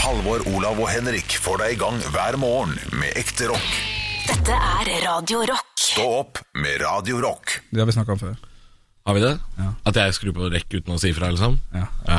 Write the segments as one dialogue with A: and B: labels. A: Halvor, Olav og Henrik får deg i gang hver morgen med ekte rock.
B: Dette er Radio Rock.
A: Stå opp med Radio Rock.
C: Det har vi snakka om før.
D: Har vi det?
C: Ja.
D: At jeg skrur på rekk uten å si fra, liksom?
C: Ja.
D: Ja.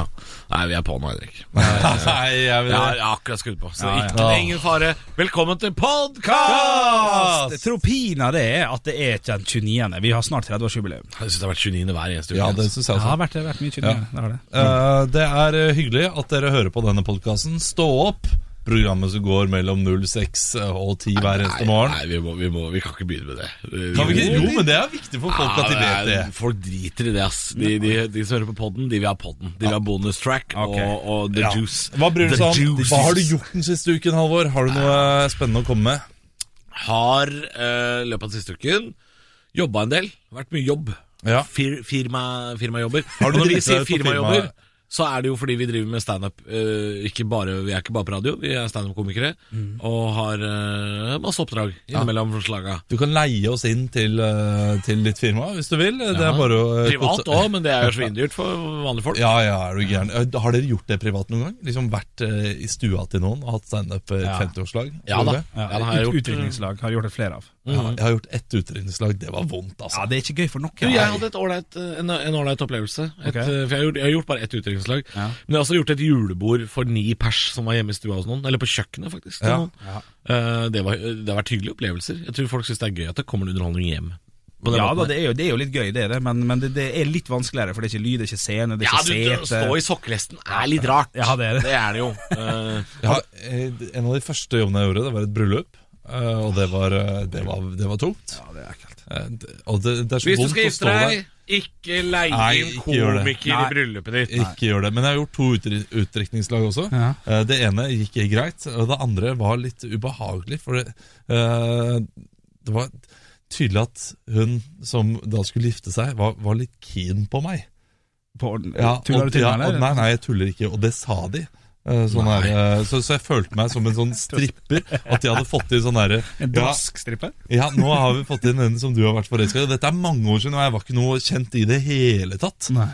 D: Nei, vi er på nå, Henrik.
E: Nei, jeg vil
D: Jeg har akkurat skrudd på, så
C: Ja, ja.
D: ikke det er ingen fare. Velkommen til podkast!
C: Tropina det er at det er ikke den 29. Vi har snart 30-årsjubileum.
D: Jeg syns det har vært 29. hver eneste uke.
E: Ja, det
D: ass.
E: syns
C: Det
E: jeg også.
C: har vært, det har vært mye 29.
E: Ja.
C: Det har det.
E: Eh, det er eh, hyggelig at dere hører på denne podkasten. Stå opp! Programmet som går mellom 06 og 10 hver eneste morgen.
D: Nei, vi, må, vi, må, vi kan ikke begynne med det.
E: Kan vi ikke? Jo, men det er viktig for folk
D: Ja,
E: at de vet
D: det
E: det.
D: er- Folk driter i det, ass. De, de, de som hører på podden, de vil ha podden. De vil ha bonus track
C: Ok.
D: og, og the
E: Ja.
D: juice.
E: Hva bryr du
D: The
E: deg om?
D: juice.
E: Hva har du gjort den siste uken, Halvor? Har du noe eh, spennende å komme med?
D: Har eh, løpet av den siste uken jobba en del. Vært mye jobb.
E: Ja.
D: Fir, firma, firmajobber.
E: Har du
D: Og når vi
E: driti deg
D: sier
E: ut på
D: firmajobber,
E: firma?
D: så er det jo fordi vi driver med standup. eh, ikke bare- vi er ikke bare på radio, vi er standup-komikere.
E: Mm.
D: Og har eh, masse oppdrag innimellom slaga.
E: Du kan leie oss inn til, eh, til ditt firma hvis du vil. Det er bare å eh,
D: Privat
E: kontak-
D: òg, men det er jo svindyrt for vanlige folk.
E: Ja, ja, er du gæren. Eh, Har dere gjort det privat noen gang? Liksom Vært eh, i stua til noen og hatt standup eh,
C: Ja.
E: 50-årslag?
D: Ja da.
E: Gjorde du det?
C: Ja,
D: Ja, det har jeg
C: ut-
D: gjort.
C: Utdrikningslag har gjort det flere av.
E: Ja, jeg har gjort ett utdrikningslag. Det var vondt, altså.
C: Ja, Det er ikke gøy for noen.
D: Du, jeg hadde et ålreit, eh, en en ålreit opplevelse. Et,
C: Ok.
D: eh, For jeg har, gjort, jeg har gjort bare ett utdrikningslag.
C: Ja.
D: Men jeg har også gjort et julebord for ni pers som var hjemme i stua hos noen. Eller på kjøkkenet, faktisk. til
E: Ja.
D: Noen. Eh, Det, var, det har vært hyggelige opplevelser. Jeg tror folk syns det er gøy at det kommer en underholdning hjem. på den
C: Ja
D: måten
C: da,
D: her.
C: det er, jo, det er jo litt gøy, det er det, men, men det, det er litt vanskeligere, for det er ikke lyd, det er ikke scene, det er
D: ja,
C: ikke
D: du, du, å
C: sete.
D: stå i sokkelesten er litt rart.
C: Ja, det er det.
D: Det er det jo. Eh,
E: Ja, eh, en av de første jobbene jeg gjorde, det var et bryllup. eh, Og det var, eh, det var, det var tungt.
C: Ja, det er ekkelt.
E: Eh, det- Og det, det er så
D: hvis du
E: vondt
D: skal
E: å
D: gifte
E: stå der.
D: deg, ikke leie
E: Nei,
D: inn
E: ikke gjør det.
D: komiker i
C: Nei.
D: bryllupet ditt.
E: Ikke gjør det. Men jeg har gjort to utri- utdrikningslag også.
C: Ja.
E: Eh, Det ene gikk greit, og det andre var litt ubehagelig. For det, eh, det var tydelig at hun som da skulle gifte seg, var, var litt keen på meg.
C: På orden.
E: Ja,
C: Tuller
E: og-
C: du til
E: ja,
C: meg,
E: og-
C: eller?
E: Nei, nei, jeg tuller ikke, og det sa de. Eh, Sånn
D: Nei.
E: her, eh, så, så jeg følte meg som en sånn stripper. At de hadde fått inn sånn herre
C: En
E: ja,
C: draskstripe?
E: ja, nå har vi fått inn en som du har vært forelska i. Dette er mange år siden, og jeg var ikke noe kjent i det hele tatt.
C: Nei.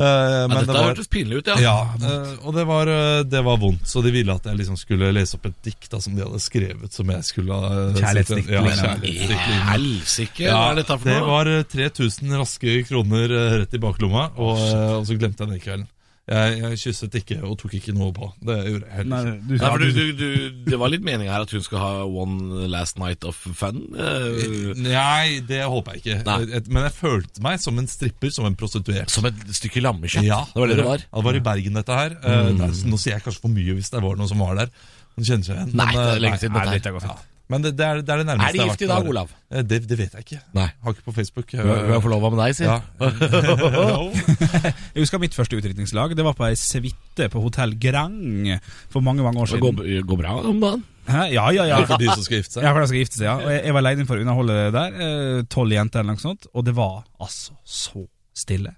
E: Eh, men
D: Ja,
E: det
D: dette
E: var,
D: hørtes pinlig ut, ja.
E: ja, eh, og det var, eh, det var vondt, så de ville at jeg liksom skulle lese opp et dikt da, som de hadde skrevet. Som jeg skulle eh,
C: Kjærlighetsdikt,
E: Ja,
C: liksom.
E: kjærlighetsdikt. liksom.
D: Helsike,
E: Ja,
D: hva er dette for noe?
E: det var eh, 3000 raske kroner eh, rett i baklomma, og, eh, og så glemte jeg den kvelden. Jeg, jeg kysset ikke og tok ikke noe på. Det gjorde jeg heller
C: Nei,
E: ikke.
C: du,
D: Nei, for du, du, du, det var litt meninga her at hun skal ha one last night of fun. eh,
E: Nei, det håper jeg ikke.
D: Nei.
E: Et- Men jeg følte meg som en stripper, som en prostituert.
D: som et stykke lammekjøtt.
E: Ja,
D: det var det det var. Mm.
E: Ja, det var i Bergen, dette her. Eh, det er- nå sier jeg kanskje for mye hvis det var noen som var der. Hun kjenner seg igjen.
D: Nei,
E: men,
D: det
E: eh,
D: er lenge siden
E: nei,
D: dette her.
E: nei, dette går fint. Men det, det, er, det er det nærmeste
D: Er de
E: jeg har
D: gift
E: vært
D: i dag,
E: der.
D: Olav?
E: Eh, Det, det vet jeg ikke.
D: Nei.
E: Har ikke på Facebook. Eh,
D: Hun er- hun er forlova med deg, si.
E: Ja.
C: Jeg husker mitt første utdrikningslag. Det var på ei suite på Hotell Grand for mange mange år
D: Det går,
C: siden.
D: går bra om dagen.
C: Hæ? Ja, ja, ja.
E: Ja, for de som skal gifte seg.
C: Ja, for de skal gifte seg, ja. Og jeg, jeg var leid inn for å underholde der. eh, Tolv jenter eller noe sånt. Og det var altså så stille.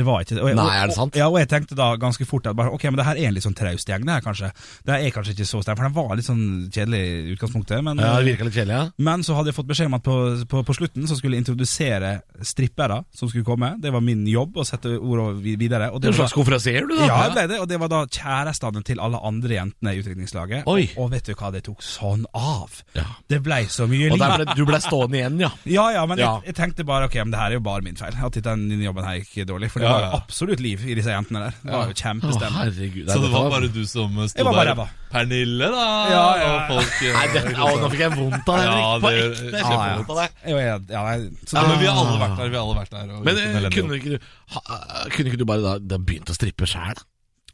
C: Det var ikke det. Og jeg-
D: Nei, er det sant?
C: Og, ja, og jeg tenkte da ganske fort at bare, ok, men det her er en litt sånn traust gjeng, det her kanskje. Det her er kanskje ikke så sterkt, for den var litt sånn kjedelig i utgangspunktet. Men, eh,
D: Ja, det virka litt kjedelig, ja.
C: men så hadde jeg fått beskjed om at på, på, på slutten så skulle jeg introdusere strippere som skulle komme. Det var min jobb å sette ordene vi- videre. Og
D: Du er
C: det
D: en
C: var,
D: slags konferansier, du, da.
C: ja, det ble det, og det var da kjærestene til alle andre jentene i utdrikningslaget.
D: Oi.
C: Og, og vet du hva, det tok sånn av.
D: Ja.
C: Det blei så mye
D: Og
C: liv.
D: der ble, du ble stående igjen, ja.
C: Ja, ja, men
D: Ja.
C: Jeg, jeg tenkte bare ok, men det her er jo bare min feil. At denne jobben her gikk dårlig. For det
E: Ja,
C: var
E: ja.
C: jo absolutt liv i disse jentene der. Det var jo
D: Å,
C: kjempestemning.
D: herregud. Nei,
E: Så det
D: dette
E: var bare du som sto
C: Jeg var bare
E: der.
C: ræva.
E: Pernille, da!
C: Ja, ja.
E: Og folk eh,
D: Nei, dette, å, nå fikk jeg vondt av det,
E: Ja,
D: Henrik. På
E: det-
D: ekte. Jeg
E: Ja,
D: fikk
C: ja.
D: vondt av det.
C: Jo, jeg- ja, nei, så
E: ja,
C: det-
E: men vi har alle vært der. Vi har alle vært der og
D: Men
E: gjort en
D: eh,
E: elendig jobb.
D: kunne ikke, du, ha, eh, kunne ikke du bare da, da begynt å strippe sjæl?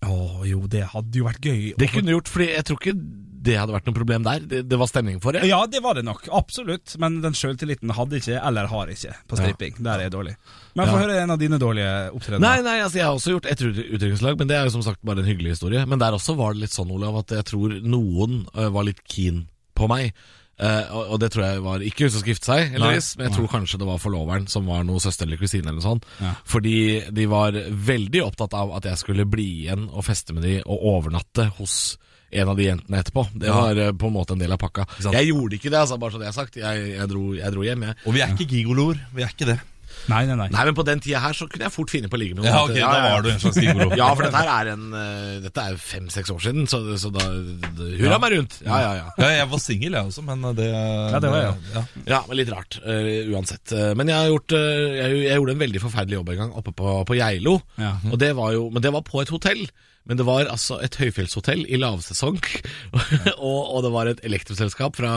C: Å jo, det hadde jo vært gøy. å
D: Det
C: få-
D: kunne du gjort, for jeg tror ikke det hadde vært noe problem der. Det, det var stemning for det.
C: Ja, det var det nok. Absolutt. Men den sjøltilliten hadde ikke, eller har ikke, på stripping. Der er jeg dårlig. Men få
D: Ja.
C: høre en av dine dårlige opptredener.
D: Nei, nei, altså jeg har også gjort et utdrikningslag, men det er jo som sagt bare en hyggelig historie. Men der også var det litt sånn, Olav, at jeg tror noen ø, var litt keen på meg. Eh, og, og det tror jeg var ikke hun som skulle gifte seg, heldigvis, men jeg tror kanskje det var forloveren som var noe søster eller kusine eller noe sånt.
C: Ja.
D: Fordi de var veldig opptatt av at jeg skulle bli igjen og feste med de og overnatte hos en av de jentene etterpå. Det var eh, på en måte en del av pakka.
E: sant?
D: Jeg gjorde ikke det, altså, bare så det er sagt. Jeg, jeg, dro, jeg dro hjem, jeg.
E: Og vi er ikke gigoloer. Vi er ikke det.
C: Nei, nei, nei.
D: Nei, men på den tida her så kunne jeg fort finne på å ligge med noen.
E: Ja, ok, da var du en slags gigolo.
D: Ja, for dette her er en eh, Dette er fem-seks år siden, så, så da det- Hurra
E: Ja.
D: meg rundt! Ja, ja, ja.
E: Ja, jeg var singel, jeg også, men eh, det Ja,
C: det var jeg.
E: Ja.
D: Ja, men Litt rart, eh, uansett. Eh, men jeg, har gjort, eh, jeg, jeg gjorde en veldig forferdelig jobb en gang oppe på, på Geilo.
C: Ja.
E: Mhm.
D: Og det var jo, men det var på et hotell. Men det var altså et høyfjellshotell i lavsesong. og, og det var et elektroselskap fra,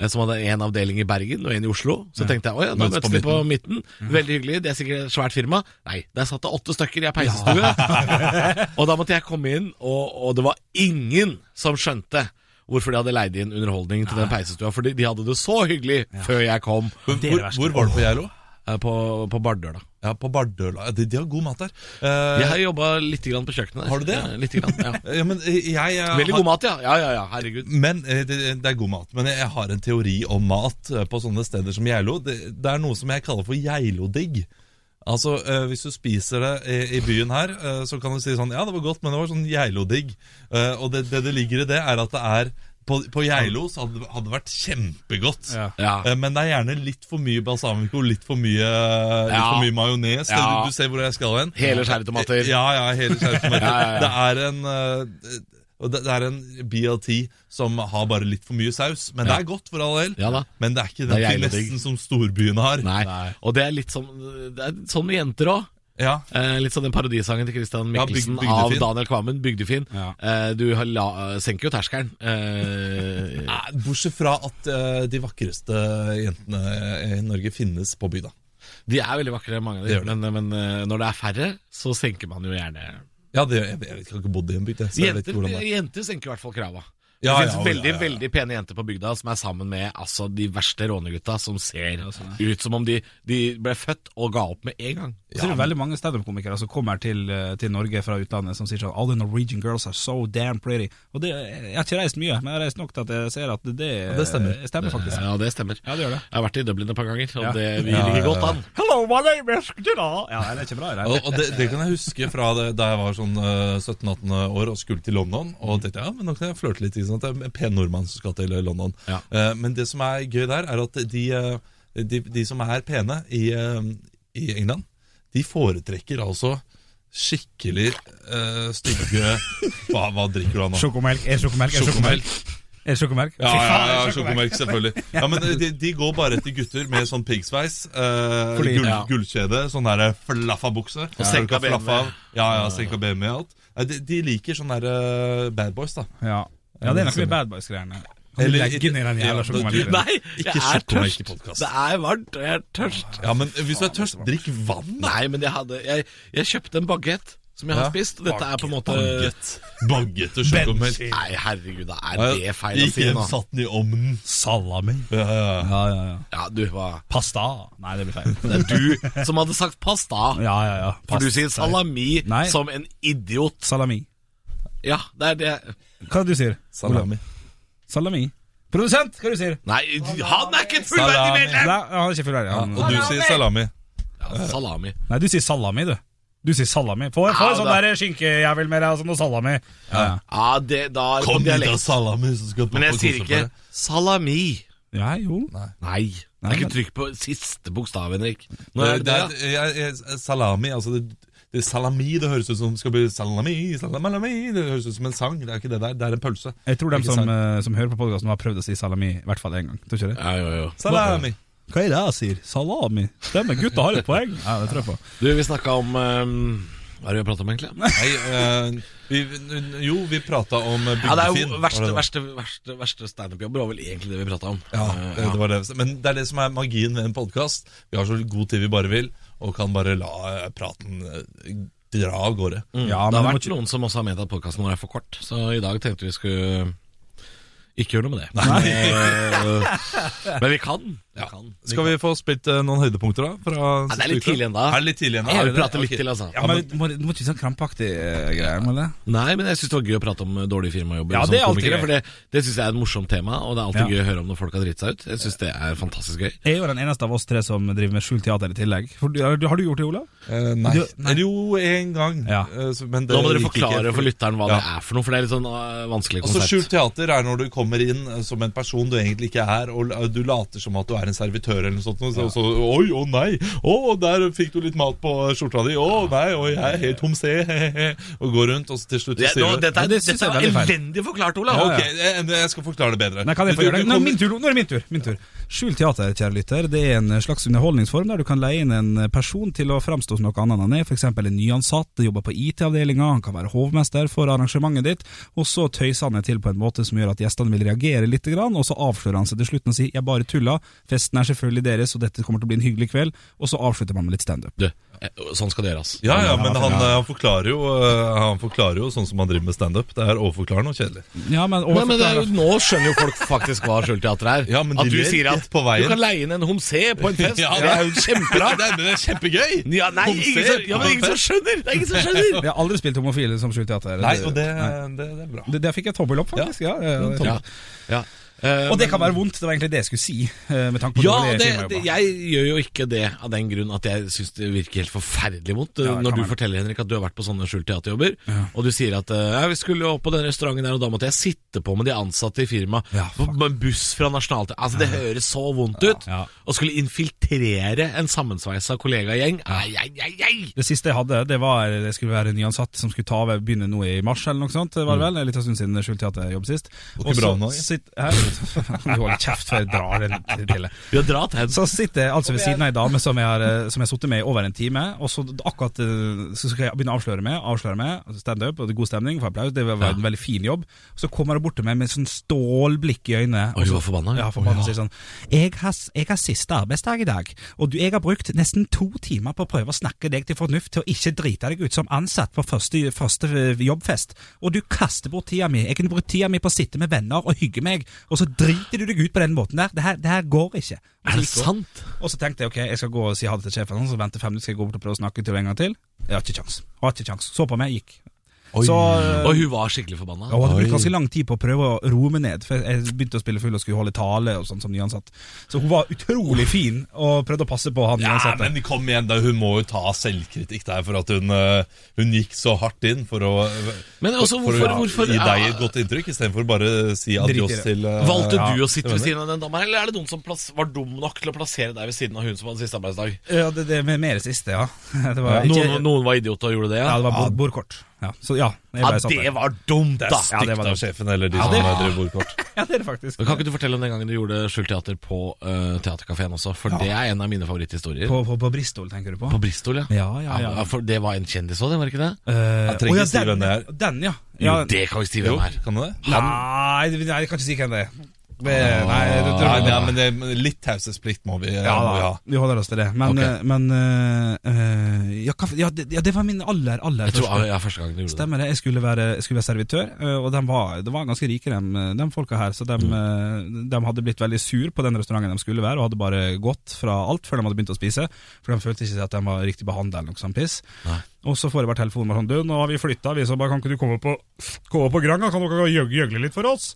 D: eh, som hadde en avdeling i Bergen og en i Oslo. Så tenkte jeg å ja, da
E: Møtes på Mhm.
D: møtes vi på midten. Veldig hyggelig, det er sikkert et svært firma. Nei, der satt det åtte stykker i ei peisestue. og da måtte jeg komme inn, og, og det var ingen som skjønte. Hvorfor de hadde leid inn underholdning til den peisestua. For de, de hadde det så hyggelig før jeg kom
E: Hvor,
C: Det er
E: hvor,
C: det verste.
E: hvor var du på Geilo?
D: eh, på, på Bardøla.
E: Ja, på Bardøla. De, de har god mat der. Eh,
D: Jeg har jobba litt grann på kjøkkenet. der.
E: Har du det?
D: Eh, Litt grann, ja.
E: ja, men eh, jeg eh,
D: Veldig
E: har-
D: god mat, ja. Ja, ja, ja, herregud.
E: Men eh, det, det er god mat. Men jeg, jeg har en teori om mat eh, på sånne steder som Geilo. Det, det er noe som jeg kaller for Geilo-digg. Altså, eh, Hvis du spiser det i, i byen her, eh, så kan du si sånn Ja, det var godt, men det var sånn Geilo-digg. Eh, og det, det det ligger i det, er at det er På, på Geilo så hadde, hadde det vært kjempegodt.
C: Ja.
D: Ja.
E: Eh, Men det er gjerne litt for mye balsamico, litt for mye, litt
D: Ja.
E: for mye majones. Det-
D: Ja.
E: Du, du ser hvor jeg skal hen.
D: Hele skjæretomater.
E: Eh, Ja, ja, hele skjæretomater.
D: Ja, ja, ja.
E: Det er en eh, og det det er en BLT som har bare litt for mye saus. Men det er godt, for all del.
D: Ja da.
E: Men det er ikke
D: Det er
E: den
D: jævlig digg.
E: finessen som storbyene har.
D: Nei. Og det er litt som Det er sånn med jenter òg.
E: Ja.
D: Eh, litt sånn den parodisangen til Christian
E: Ja, byg-
D: Mikkelsen av
E: Bygdefin.
D: Daniel Kvammen, 'Bygdefin'.
C: Ja.
D: Eh, du har la, senker jo terskelen. Eh,
E: Nei, Bortsett fra at eh, de vakreste jentene eh, i Norge finnes på bygda.
D: de er veldig vakre, mange av
E: Det
D: dem,
E: gjør
D: men, men eh, når det er færre, så senker man jo gjerne
E: Ja, det, jeg, jeg, har ikke bodd i en bygd, jeg, så jeg vet
D: Jenter,
E: ikke hvordan det er.
D: jenter senker i hvert fall krava.
E: Ja,
D: det finnes
E: ja, ja,
D: veldig
E: ja.
D: veldig pene jenter på bygda som er sammen med altså, de verste rånegutta, som ser
C: sånn
D: ut som om de, de ble født og ga opp med en gang.
C: Så er det veldig mange standup-komikere som kommer til, eh, til Norge fra utlandet som sier sånn All the Norwegian girls are so damn pretty. Og det, Jeg har ikke reist mye, men jeg har reist nok til at jeg ser at det,
E: det stemmer.
C: stemmer faktisk.
D: Ja, det stemmer.
C: Ja, det gjør det.
D: Jeg har vært i Dublin et par ganger, og
C: Ja.
D: det, vi
E: Ja,
D: ligger
E: ja,
D: godt an.
C: Hello, my name is Gina. Ja, det er ikke bra.
E: Og,
C: Det.
E: og det, det kan jeg huske fra det, da jeg var sånn eh, 17-18 år og skulle til London. Og tenkte ja, men nå kan jeg flørte litt. ikke sant? Det er en pen nordmann som skal til London.
D: Ja.
E: Eh, men det som er gøy der, er at de, eh, de, de som er pene i, eh, i England, de foretrekker altså skikkelig eh, stygge hva, hva drikker du av nå?
C: Sjokomelk, er sjokomelk, er sjokomelk. Er sjokomelk?
E: Ja, ja, ja, ja sjokomelk, selvfølgelig. Ja, men eh, de, de går bare etter gutter med sånn piggsveis, eh,
C: Fordi-
E: gull,
D: ja.
E: gullkjede, sånn der flaffa bukse. Og
D: senka BMW.
E: Ja, ja, senka BMW og alt. Nei, de, de liker sånn der eh, bad boys, da.
C: Ja. ja, det er noe med bad boys-greiene. Kan du
E: Eller-
C: legge ned den jævla
E: Ja,
C: sjokomelken?
D: Nei, jeg
E: Ikke
D: er
E: sjokomelk i
D: tørst.
E: podcast.
D: Det er varmt, og jeg er tørst.
E: Ja, men eh, hvis du er tørst, drikk vann, da.
D: Nei, men jeg hadde Jeg, jeg kjøpte en bagett som jeg har
E: Ja.
D: spist, og dette er på en måte
E: Bagget. Bagget og sjokomelk.
D: Nei, herregud, da
E: Ja,
D: er det feil å
E: Gikk
D: si
E: hjem,
D: nå.
E: satt den i ovnen.
C: Salami.
E: Ja, ja, ja.
C: Ja, ja, ja.
D: Ja, du, hva
C: Pasta. Nei, det blir feil.
D: Det er du som hadde sagt pasta.
C: Ja, ja, ja.
D: For du
C: Pasta.
D: sier salami
C: Nei.
D: som en idiot.
C: Salami.
D: Ja, det er det
C: Hva er det du sier? Olav?
E: Salami.
C: Salami. Produsent, hva er det du sier?
D: Nei, han er ikke et fullverdig
E: Salami.
D: medlem!
C: Nei, han er ikke fullverdig.
E: Ja,
C: han-
E: og du sier salami.
D: Ja, salami.
C: Nei, du sier salami, du. Du sier salami. Få, få en
D: Ja,
C: sånn
D: da.
C: der skinkejævel med deg og sånn, og salami. Ja, ja.
D: Ja, det da er det
E: Kom
D: på
E: hit da,
D: dialekt.
E: salami, så skal
D: Men jeg
E: pappa
D: sier
E: kose
D: ikke
E: på deg.
D: salami.
C: ja jo.
D: Nei. Det
C: Nei,
D: er ikke
C: men-
D: trykk på siste bokstav, Henrik. Nå
E: Det,
D: er det det,
E: er, jeg, jeg, salami, altså det, det er salami, det høres ut som skal bli salami, salami, det høres ut som en sang, det er ikke det der, det er en pølse.
C: Jeg tror de
E: Ikke
C: som,
E: sant?
C: eh, som hører på podkasten, har prøvd å si salami i hvert fall én gang. Tror ikke det?
D: ja. Ja, jo, jo.
E: Salami.
C: Hva er det jeg sier? Salami. Stemmer, gutta har et poeng. Ja, det tror jeg på.
D: Du, vi snakka om ehm, Hva er det vi har prata om, egentlig?
E: Nei, eh, vi, jo, vi pratet om eh,
D: Ja, Det er
E: bygdefinn.
D: jo verste, verste, verste, verste standup-jobber, var vel egentlig det vi prata om.
E: Ja,
D: Eh,
E: det, det var det. Men det er det som er magien ved en podcast. Vi har så god tid vi bare vil, og kan bare la eh, praten eh, dra av gårde.
C: Ja, men
D: det har
C: du må
D: vært noen som også har ment at podkasten vår er for kort, så i dag tenkte vi skulle ikke gjøre noe med det. Eh, Men vi kan. Vi kan. Vi
E: Skal vi få spilt eh, noen høydepunkter da? Fra
D: Ja, det er litt
E: siste uka?
D: tidlig ennå.
E: Er det litt tidlig
D: kan.
E: ennå?
D: Ja,
E: Er
D: vi
E: det det?
D: prater litt
E: Ok.
D: til, altså.
C: Ja, men du må, du må ikke si sånn krampaktig eh, greier, må du det?
D: Nei, men jeg syns det var gøy å prate om eh, dårlige firmajobber.
C: Ja,
D: som
C: det er alltid
D: komikere,
C: gøy.
D: For det, det syns jeg er et morsomt tema, og det er alltid
C: Ja.
D: gøy å høre om når folk har dritt seg ut. Jeg syns det er fantastisk gøy.
C: Jeg er jo den eneste av oss tre som driver med skjult teater i tillegg. For, du- har du gjort det, Olav?
E: Eh, nei.
C: Du- nei.
E: Eller jo, én gang.
C: Ja.
E: Eh, så- men det
D: Nå må dere
E: gikk ikke
D: forklare
E: helt.
D: for lytteren hva
E: Ja.
D: det er for noe, for det er litt sånn eh, vanskelig
E: Altså
D: konsept.
E: Skjult teater er når du kommer inn eh, som en person du egentlig ikke er, og eh, du later som at du være en servitør eller noe sånt. Og så, så, oi, å nei! Å, der fikk du litt mat på skjorta di! Å nei, og jeg er helt homsé! he-he-he», Og går rundt, og så til slutt så
D: Det, nå,
E: sier du
D: dette
C: Ja,
D: er,
C: det synes jeg
D: dette
C: er
D: er
C: veldig feil.
D: elendig forklart, Olav.
E: ja,
D: Ok.
E: Ok, jeg, jeg skal forklare det bedre.
C: Nei, kan jeg få
E: Du-
C: gjøre det?
E: du
C: Nå,
E: kommer-
C: min tur, nå er det min tur. Min tur. Skjult teater, kjære lytter, det er en slags underholdningsform der du kan leie inn en person til å framstå som noe annet enn han er, f.eks. en nyansatt, jobber på IT-avdelinga, han kan være hovmester for arrangementet ditt, og så tøyser han det til på en måte som gjør at gjestene vil reagere litt, grann, og så avslører han seg til slutten og sier 'jeg bare tulla', festen er selvfølgelig deres, og dette kommer til å bli en hyggelig kveld, og så avslutter man med litt standup.
D: Du, eh, sånn skal det gjøres.
E: Ja, ja, men han, eh, han, forklarer jo, eh, han forklarer jo sånn som han driver med standup. Det er overforklarende og kjedelig.
C: Ja, men,
D: Nei, men det er jo, nå skjønner jo folk faktisk hva skjult teater er.
E: Ja, men de
D: at du
E: ler
D: sier at
E: rett på veien.
D: du kan leie inn en homsé på en fest.
E: Ja,
D: det er jo kjempebra.
E: Det er, det er kjempegøy!
D: Ja, nei, ingen som, ja, men ingen som skjønner! Det er ingen som skjønner!
C: Jeg har aldri spilt homofile som skjult teater.
E: Nei, og det,
C: Nei.
E: det, det er bra.
C: det, Der fikk jeg tommel opp, faktisk. Ja, ja, ja,
D: Ja, ja. Eh,
C: Og det kan være vondt, det var egentlig det jeg skulle si. eh, Med tanke på
D: Ja,
C: dårlige
D: det,
C: filmer jeg
D: det,
C: jobber.
D: jeg gjør jo ikke det av den grunn at jeg syns det virker helt forferdelig vondt. eh,
C: Ja, det
D: Når
C: kan
D: du
C: være.
D: forteller Henrik at du har vært på sånne skjult teaterjobber, og du sier at eh, ja, vi skulle jo opp på den restauranten der, og da måtte jeg sitte på med de ansatte i firmaet
C: Ja,
D: på
C: fuck.
D: på en buss fra nasjonalt Altså, det høres så vondt ut!
C: Ja.
D: Å skulle infiltrere en sammensveisa kollegagjeng Ai, ai, ai, ai!
C: Det siste jeg hadde, det var jeg skulle være nyansatt som skulle ta over, begynne nå i mars eller noe sånt. Var det
D: Mm.
C: vel, En liten stund siden skjult teaterjobb sist.
E: ikke
C: Og så
E: bra nå, jeg.
C: sitt- Hæ? Du holder kjeft før jeg drar den til.
D: Vi har dratt hen.
C: Så sitter jeg altså ved siden av ei dame som jeg har eh, Som jeg har sittet med i over en time, og så akkurat eh, Så skal jeg begynne å avsløre meg, avsløre meg altså standup, og det er god stemning, får applaus, det var en veldig fin jobb. Så kommer hun bort til meg med sånn stålblikk i øynene.
D: Oi,
C: og så-
D: du var forbanna, ja.
C: Ja, forbanna
D: Å, ja.
C: sier sånn jeg har, s- jeg har siste arbeidsdag i dag, og du, jeg har brukt nesten to timer på å prøve å snakke deg til fornuft til å ikke drite deg ut som ansatt på første, første eh, jobbfest, og du kaster bort tida mi. Jeg kunne brukt tida mi på å sitte med venner og hygge meg, og så driter du deg ut på den måten der. Det her, det her går ikke. Og så
D: Er det
C: gikk hun.
D: sant?
C: Og så tenkte jeg ok, jeg skal gå og si ha det til sjefen, så venter fem minutter, skal jeg gå bort og prøve å snakke til henne en gang til. Jeg har ikke kjangs. Har ikke kjangs. Så på meg, gikk. Så øh,
D: Og hun var skikkelig forbanna?
C: jeg hadde brukt ganske lang tid på å prøve å roe meg ned, for jeg begynte å spille full og skulle holde tale og sånn som nyansatt. Så hun var utrolig fin og prøvde å passe på han
E: Ja,
C: nyansatte.
E: men kom igjen, da. Hun må jo ta selvkritikk der for at hun, eh, hun gikk så hardt inn for å,
D: Men også,
E: for,
D: hvorfor-
E: å
D: hvorfor-
E: gi deg
D: ja.
E: et godt inntrykk, istedenfor bare å si
C: Drit i
E: adjøs
C: det.
E: til eh,
D: Valgte
E: ja.
D: du å sitte ved siden av den dama, eller er det noen som plass, var dum nok til å plassere deg ved siden av hun som hadde siste arbeidsdag?
C: Ja, det, det med mer siste, ja. Det var, ikke,
D: Noen, noen var idioter og gjorde det, ja?
C: ja, det var bord, bordkort. Ja, så ja. Jeg
D: Ja,
C: ble satt
D: det
C: der.
D: var dumt, da!
C: Ja, det
E: Stygt
C: var
E: av sjefen eller de
C: Ja, det-
E: som driver bordkort.
C: Ja, det er det faktisk.
D: Men Kan ikke du fortelle om den gangen du gjorde skjult teater på uh, Theatercaféen også? For det er en av mine favoritthistorier. På,
C: På, på, på Bristol, tenker du på?
D: Bristol, ja.
C: Ja, ja, ja.
D: For det var en kjendis òg, det, var det ikke det?
C: Eh, å
E: trenger
C: ja,
E: ikke si
C: den-
E: hvem det
C: Den, ja.
D: Jo,
C: ja
D: det kan vi si
E: Jo,
D: hvem er.
E: kan du det?
C: Nei, det- nei, jeg kan ikke si hvem det er. Det, nei, det tror
E: Ja,
C: jeg
E: ja, men det, men litt taushetsplikt må vi eh,
C: ja,
E: må vi
C: da,
E: ha.
C: vi holder oss til det. Men,
D: Ok.
C: eh, men eh, eh, ja, hva- ja, det, ja, det var min aller, aller
D: Jeg tror
C: første.
D: ja, første gangen du gjorde det.
C: Stemmer det. Jeg skulle være, jeg skulle være servitør, eh, og de var, de var ganske rike, de, de folka her. Så de,
D: Mm.
C: eh, de hadde blitt veldig sur på den restauranten de skulle være, og hadde bare gått fra alt før de hadde begynt å spise. For de følte ikke at de var riktig behandla eller noe sånt piss.
D: Nei.
C: Og så får jeg bare telefonen bare sånn Du, nå har vi flytta, vi, så bare kan ikke du komme på, komme på Granga? Kan dere gjøg- gjøgle litt for oss?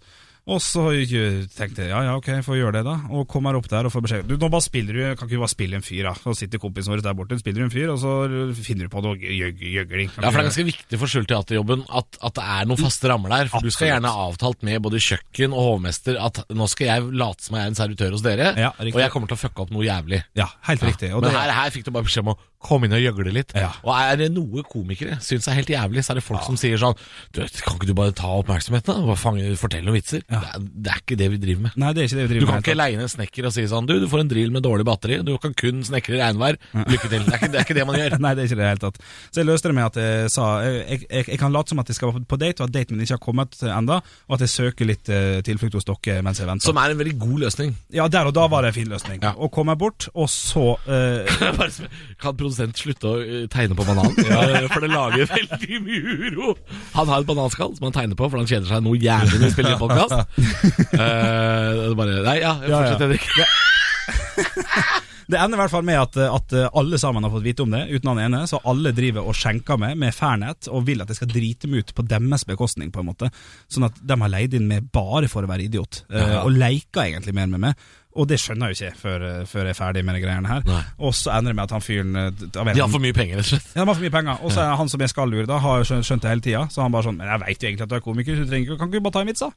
C: Og så eh, tenkte jeg ja, ja, ok, får gjøre det, da. Og kom her opp der og får beskjed Du, nå bare spiller du, kan ikke du bare spille en fyr, da? Så sitter kompisen vår der borte, spiller du en fyr, og så finner du på noe gjøg- gjøgling. Kan vi
D: Ja, for Det er
C: gjøre?
D: ganske viktig for skjult teaterjobben at, at det er noen faste rammer der. For Du skal
C: Absolutt.
D: gjerne ha avtalt med både kjøkken og hovmester at nå skal jeg late som jeg er en servitør hos dere,
C: Ja, riktig.
D: og jeg kommer til å fucke opp noe jævlig.
C: Ja, helt riktig. Og
D: Men
C: det-
D: her, her fikk du bare beskjed om å komme inn og gjøgle litt.
C: Ja.
D: Og er det noe komikere syns er helt jævlig, så er det folk som sier sånn du, vet, Kan ikke du bare ta oppmerksomheten? da? Bare fange, fortell noen vitser. Det, er, det er ikke det vi driver med.
C: Nei, det er ikke det vi
D: Du
C: driver
D: kan
C: med.
D: ikke leie inn en snekker og si sånn Du, du får en drill med dårlig batteri. Du kan kun snekre regnvær. Lykke til. Det er ikke det, er ikke det man gjør.
C: Nei, det er ikke det i det hele tatt. Så jeg løste det med at jeg sa Jeg, jeg, jeg kan late som at jeg skal være på date, og at daten min ikke har kommet enda og at jeg søker litt eh, tilflukt hos dere mens jeg venter.
D: Som er en veldig god løsning.
C: Ja, der og da var det en fin løsning.
D: Ja.
C: Og kom jeg bort, og så eh,
D: Bare sp- Kan produsent slutte å eh, tegne på banan? Eh, For det lager veldig mye uro. Han har et bananskall som han tegner på, for han kjeder seg noe jævlig når vi spiller inn podkast. bare Nei, ja,
C: Ja, ja.
D: fortsett, Henrik.
C: Det ender i hvert fall med at, eh, at alle sammen har fått vite om det, uten han ene. Så alle driver og skjenker meg med Fernet, og vil at jeg skal drite meg ut på deres bekostning, på en måte. Sånn at de har leid inn meg bare for å være idiot, eh, og leker egentlig mer med meg. Og det skjønner jeg jo ikke før, eh, før jeg er ferdig med de greiene her.
D: Nei.
C: Og så ender det med at han fyren eh, av en-
D: De har for mye penger, rett og slett.
C: ja, de har for mye penger. Og så er det han som er skallur, da, har jo skjønt, skjønt det hele tida. Så han bare sånn Men jeg veit jo egentlig at du er komiker, så du trenger ikke Kan ikke du bare ta en vits, da?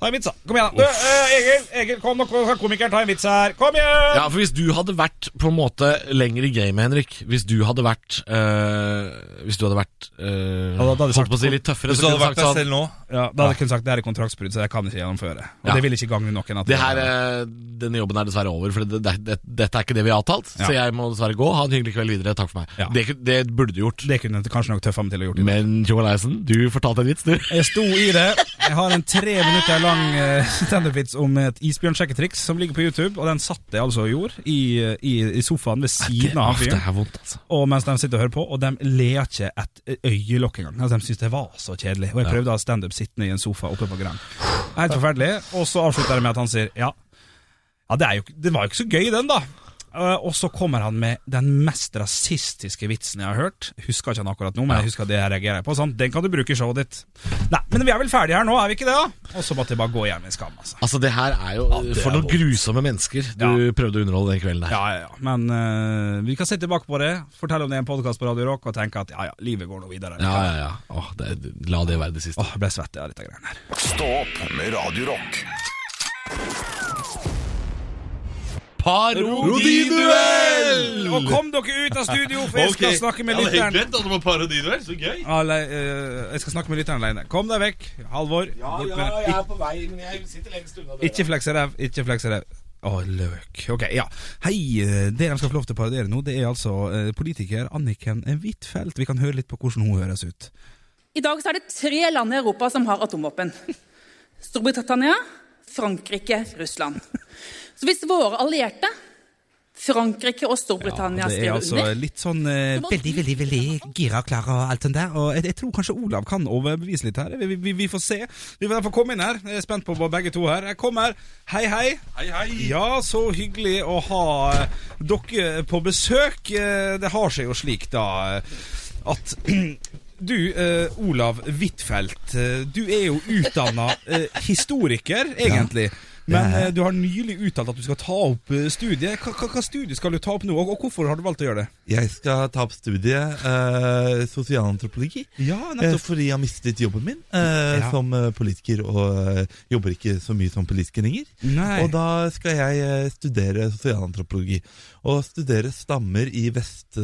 C: Ta en vits, da. Kom igjen, da. Du, eh, Egil, Egil, kom nå, kom, kan komikeren ta en vits her. Kom igjen!
D: Ja, for hvis du hadde vært på en måte lenger i gamet, Henrik Hvis du hadde vært øh, Hvis du hadde vært øh,
C: da- da hadde jeg
D: holdt
C: sagt-
D: på å si litt tøffere
E: Hvis
D: så
E: du hadde
D: kunne jeg
E: vært deg
D: sagt sånn,
E: selv nå
C: Ja, da hadde jeg kunnet sagt det her er kontraktsbrudd, så jeg kan ikke gjennomføre. Og
D: Ja.
C: det vil ikke gagne noen. At
D: det her, øh, Denne jobben er dessverre over, for det, det, det, dette er ikke det vi har avtalt.
C: Ja.
D: Så jeg må dessverre gå. Ha en hyggelig kveld videre. Takk for meg.
C: Ja.
D: Det, ku- det burde du gjort.
C: det kunne kanskje nok tøffa meg til å gjort.
D: Men Tjomaleisen, du fortalte en vits, du.
C: Jeg sto i det. Jeg har en tre minutter lang eh, standup-vits om et isbjørnsjekketriks som ligger på YouTube, og den satt jeg altså og gjorde i, i, i sofaen ved siden av
D: Aff, Ah, det
C: fyren.
D: er vondt, altså.
C: Og mens de sitter og hører på, og de ler ikke et øyelokk engang. Altså, de syns det var så kjedelig. Og jeg prøvde å ha standup sittende i en sofa oppe på Grand. Helt forferdelig. Og så avslutter det med at han sier ja, ja det, er jo, ikke- det var jo ikke så gøy, den, da. Eh, og så kommer han med den mest rasistiske vitsen jeg har hørt. Husker ikke han akkurat nå, men jeg husker det jeg reagerer på. Sånn, den kan du bruke i showet ditt. Nei, men vi er vel ferdige her nå, er vi ikke det, da? Og så måtte jeg bare gå hjem i skam, altså.
D: Altså, det her er jo For noen grusomme mennesker du prøvde å underholde den kvelden her.
C: Ja, ja, ja. Men eh, vi kan se tilbake på det, fortelle om det er en podkast på Radio Rock, og tenke at ja, ja, livet går nå videre.
D: Ja, ja, ja. Åh, det, la det være det siste.
C: Åh, jeg ble svett av dette greiene her.
A: Stå opp med Radio Rock.
D: Parodiduell!
C: Og kom dere ut av studio, for jeg skal snakke med lytteren.
E: glemt at det var parodiduell. Så gøy.
C: Ale, eh, jeg skal snakke med lytteren alene. Kom deg vekk, Halvor. bort med deg.
D: jeg er på vei, men jeg sitter lengst unna
C: Ik- ikke flekse ræv, ikke flekse ræv. Å, løk. Ok, ja. Hei, eh, det de skal få lov til å parodiere nå, det er altså eh, politiker Anniken Huitfeldt. Vi kan høre litt på hvordan hun høres ut.
F: I dag så er det tre land i Europa som har atomvåpen. Storbritannia, Frankrike, Russland. Så hvis våre allierte, Frankrike og Storbritannia,
C: det er
F: skriver
C: altså
F: under
C: litt sånn eh,
F: Så må-
C: veldig, veldig veldig gira og klar og alt sånt der. Og jeg, jeg tror kanskje Olav kan overbevise litt her. Vi, vi, vi får se. Vi får derfor komme inn her. Jeg er spent på begge to her. Jeg kommer. Hei, hei.
E: Hei, hei.
C: Ja, så hyggelig å ha eh, dere på besøk. Eh, Det har seg jo slik, da, eh, at du, eh, Olav Huitfeldt, eh, du er jo utdanna eh, historiker, egentlig. Men eh, du har nylig uttalt at du skal ta opp eh, studiet. Hva, hva, hva studie skal du ta opp nå, og, og hvorfor har du valgt å gjøre det?
E: Jeg skal ta opp studiet eh, sosialantropologi.
C: Ja,
E: Eh,
C: nettopp.
E: fordi jeg har mistet jobben min eh,
C: Ja.
E: som eh, politiker, og eh, jobber ikke så mye som politiker lenger.
C: Nei.
E: Og da skal jeg eh, studere sosialantropologi. Og studere stammer i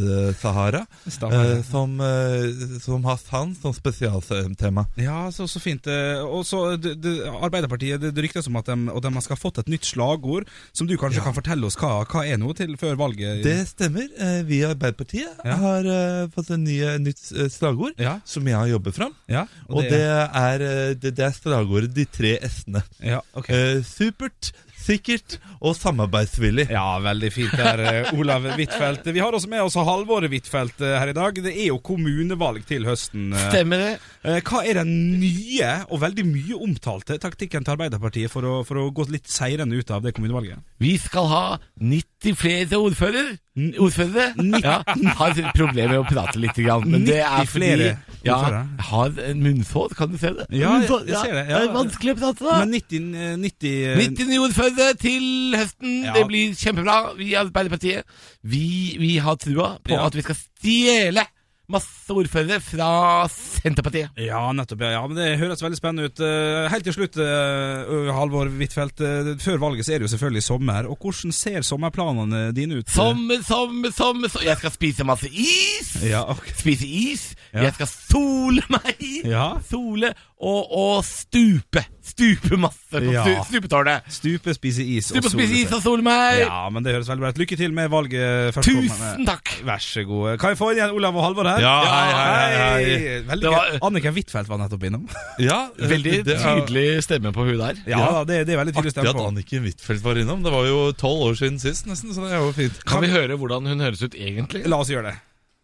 E: Vest-Sahara,
C: Stammer.
E: eh, som, eh, som har sand som spesialtema.
C: Ja, så, så fint. eh, Og så det- det- Arbeiderpartiet, det det ryktes om at de, og de skal ha fått et nytt slagord, som du kanskje kan fortelle oss hva, hva er nå til før valget?
E: Det stemmer. Eh, Vi i Arbeiderpartiet
C: Ja.
E: har eh, fått et nytt eh, slagord
C: Ja.
E: som jeg har jobbet fram.
C: Ja,
E: Og det er, eh, det, det er slagordet de tre s-ene.
C: ja, ok.
E: Eh, supert, sikkert og samarbeidsvillig.
C: Ja, veldig fint der, eh, Olav Huitfeldt. Vi har også med oss Halvor Huitfeldt eh, her i dag. Det er jo kommunevalg til høsten. eh.
D: Stemmer det?
C: Eh, Hva er den nye og veldig mye omtalte taktikken til Arbeiderpartiet for å, for å gå litt seirende ut av det kommunevalget?
D: Vi skal ha 90 flere ordfører. ordførere. Ja, har problemer med å prate litt, grann, men det er
C: 90
D: fordi
C: flere
D: ja,
C: ordførere.
D: jeg har en munnsår, kan du se det?
C: Ja, jeg-
D: Munnsår,
C: jeg ser det,
D: Det
C: ja.
D: er vanskelig å prate, da.
C: Men 90, eh, 90, eh,
D: 90 nye ordførere til høsten.
C: Ja.
D: Det blir kjempebra. Vi i Arbeiderpartiet vi, vi har trua på
C: Ja.
D: at vi skal stjele masse ordførere fra Senterpartiet.
C: Ja, nettopp. Ja, ja, men Det høres veldig spennende ut. Eh, Helt til slutt, eh, Halvor Huitfeldt. eh, Før valget så er det jo selvfølgelig sommer. Og hvordan ser sommerplanene dine ut?
D: Sommer, sommer, sommer, sommer. Jeg skal spise masse is.
C: Ja, ok.
D: Spise is.
C: Ja.
D: Jeg skal sole meg.
C: Ja.
D: Sole og, og stupe. Stupe masse på
C: Ja.
D: stu, stupetårnet.
C: Stupe, spise is
D: Stupe og
C: sole
D: spise
C: seg.
D: is og sole meg.
C: Ja, men det høres veldig bra ut. Lykke til med valget. førstkommende.
D: Tusen takk.
C: Vær så god. Kan jeg få inn igjen Olav og Halvor her?
E: Ja, hei, hei, hei, hei.
C: Veldig
D: Det var-
C: gøy. Anniken Huitfeldt var nettopp innom.
E: Ja, eh,
D: Veldig
E: det er-
D: tydelig stemme på hun der.
C: Ja, da, det, det er veldig tydelig
E: Artig
C: stemme
E: at
C: på.
E: Anniken Huitfeldt var innom. Det var jo tolv år siden sist, nesten. Så det er jo fint.
D: Kan vi høre hvordan hun høres ut egentlig?
C: La oss gjøre det.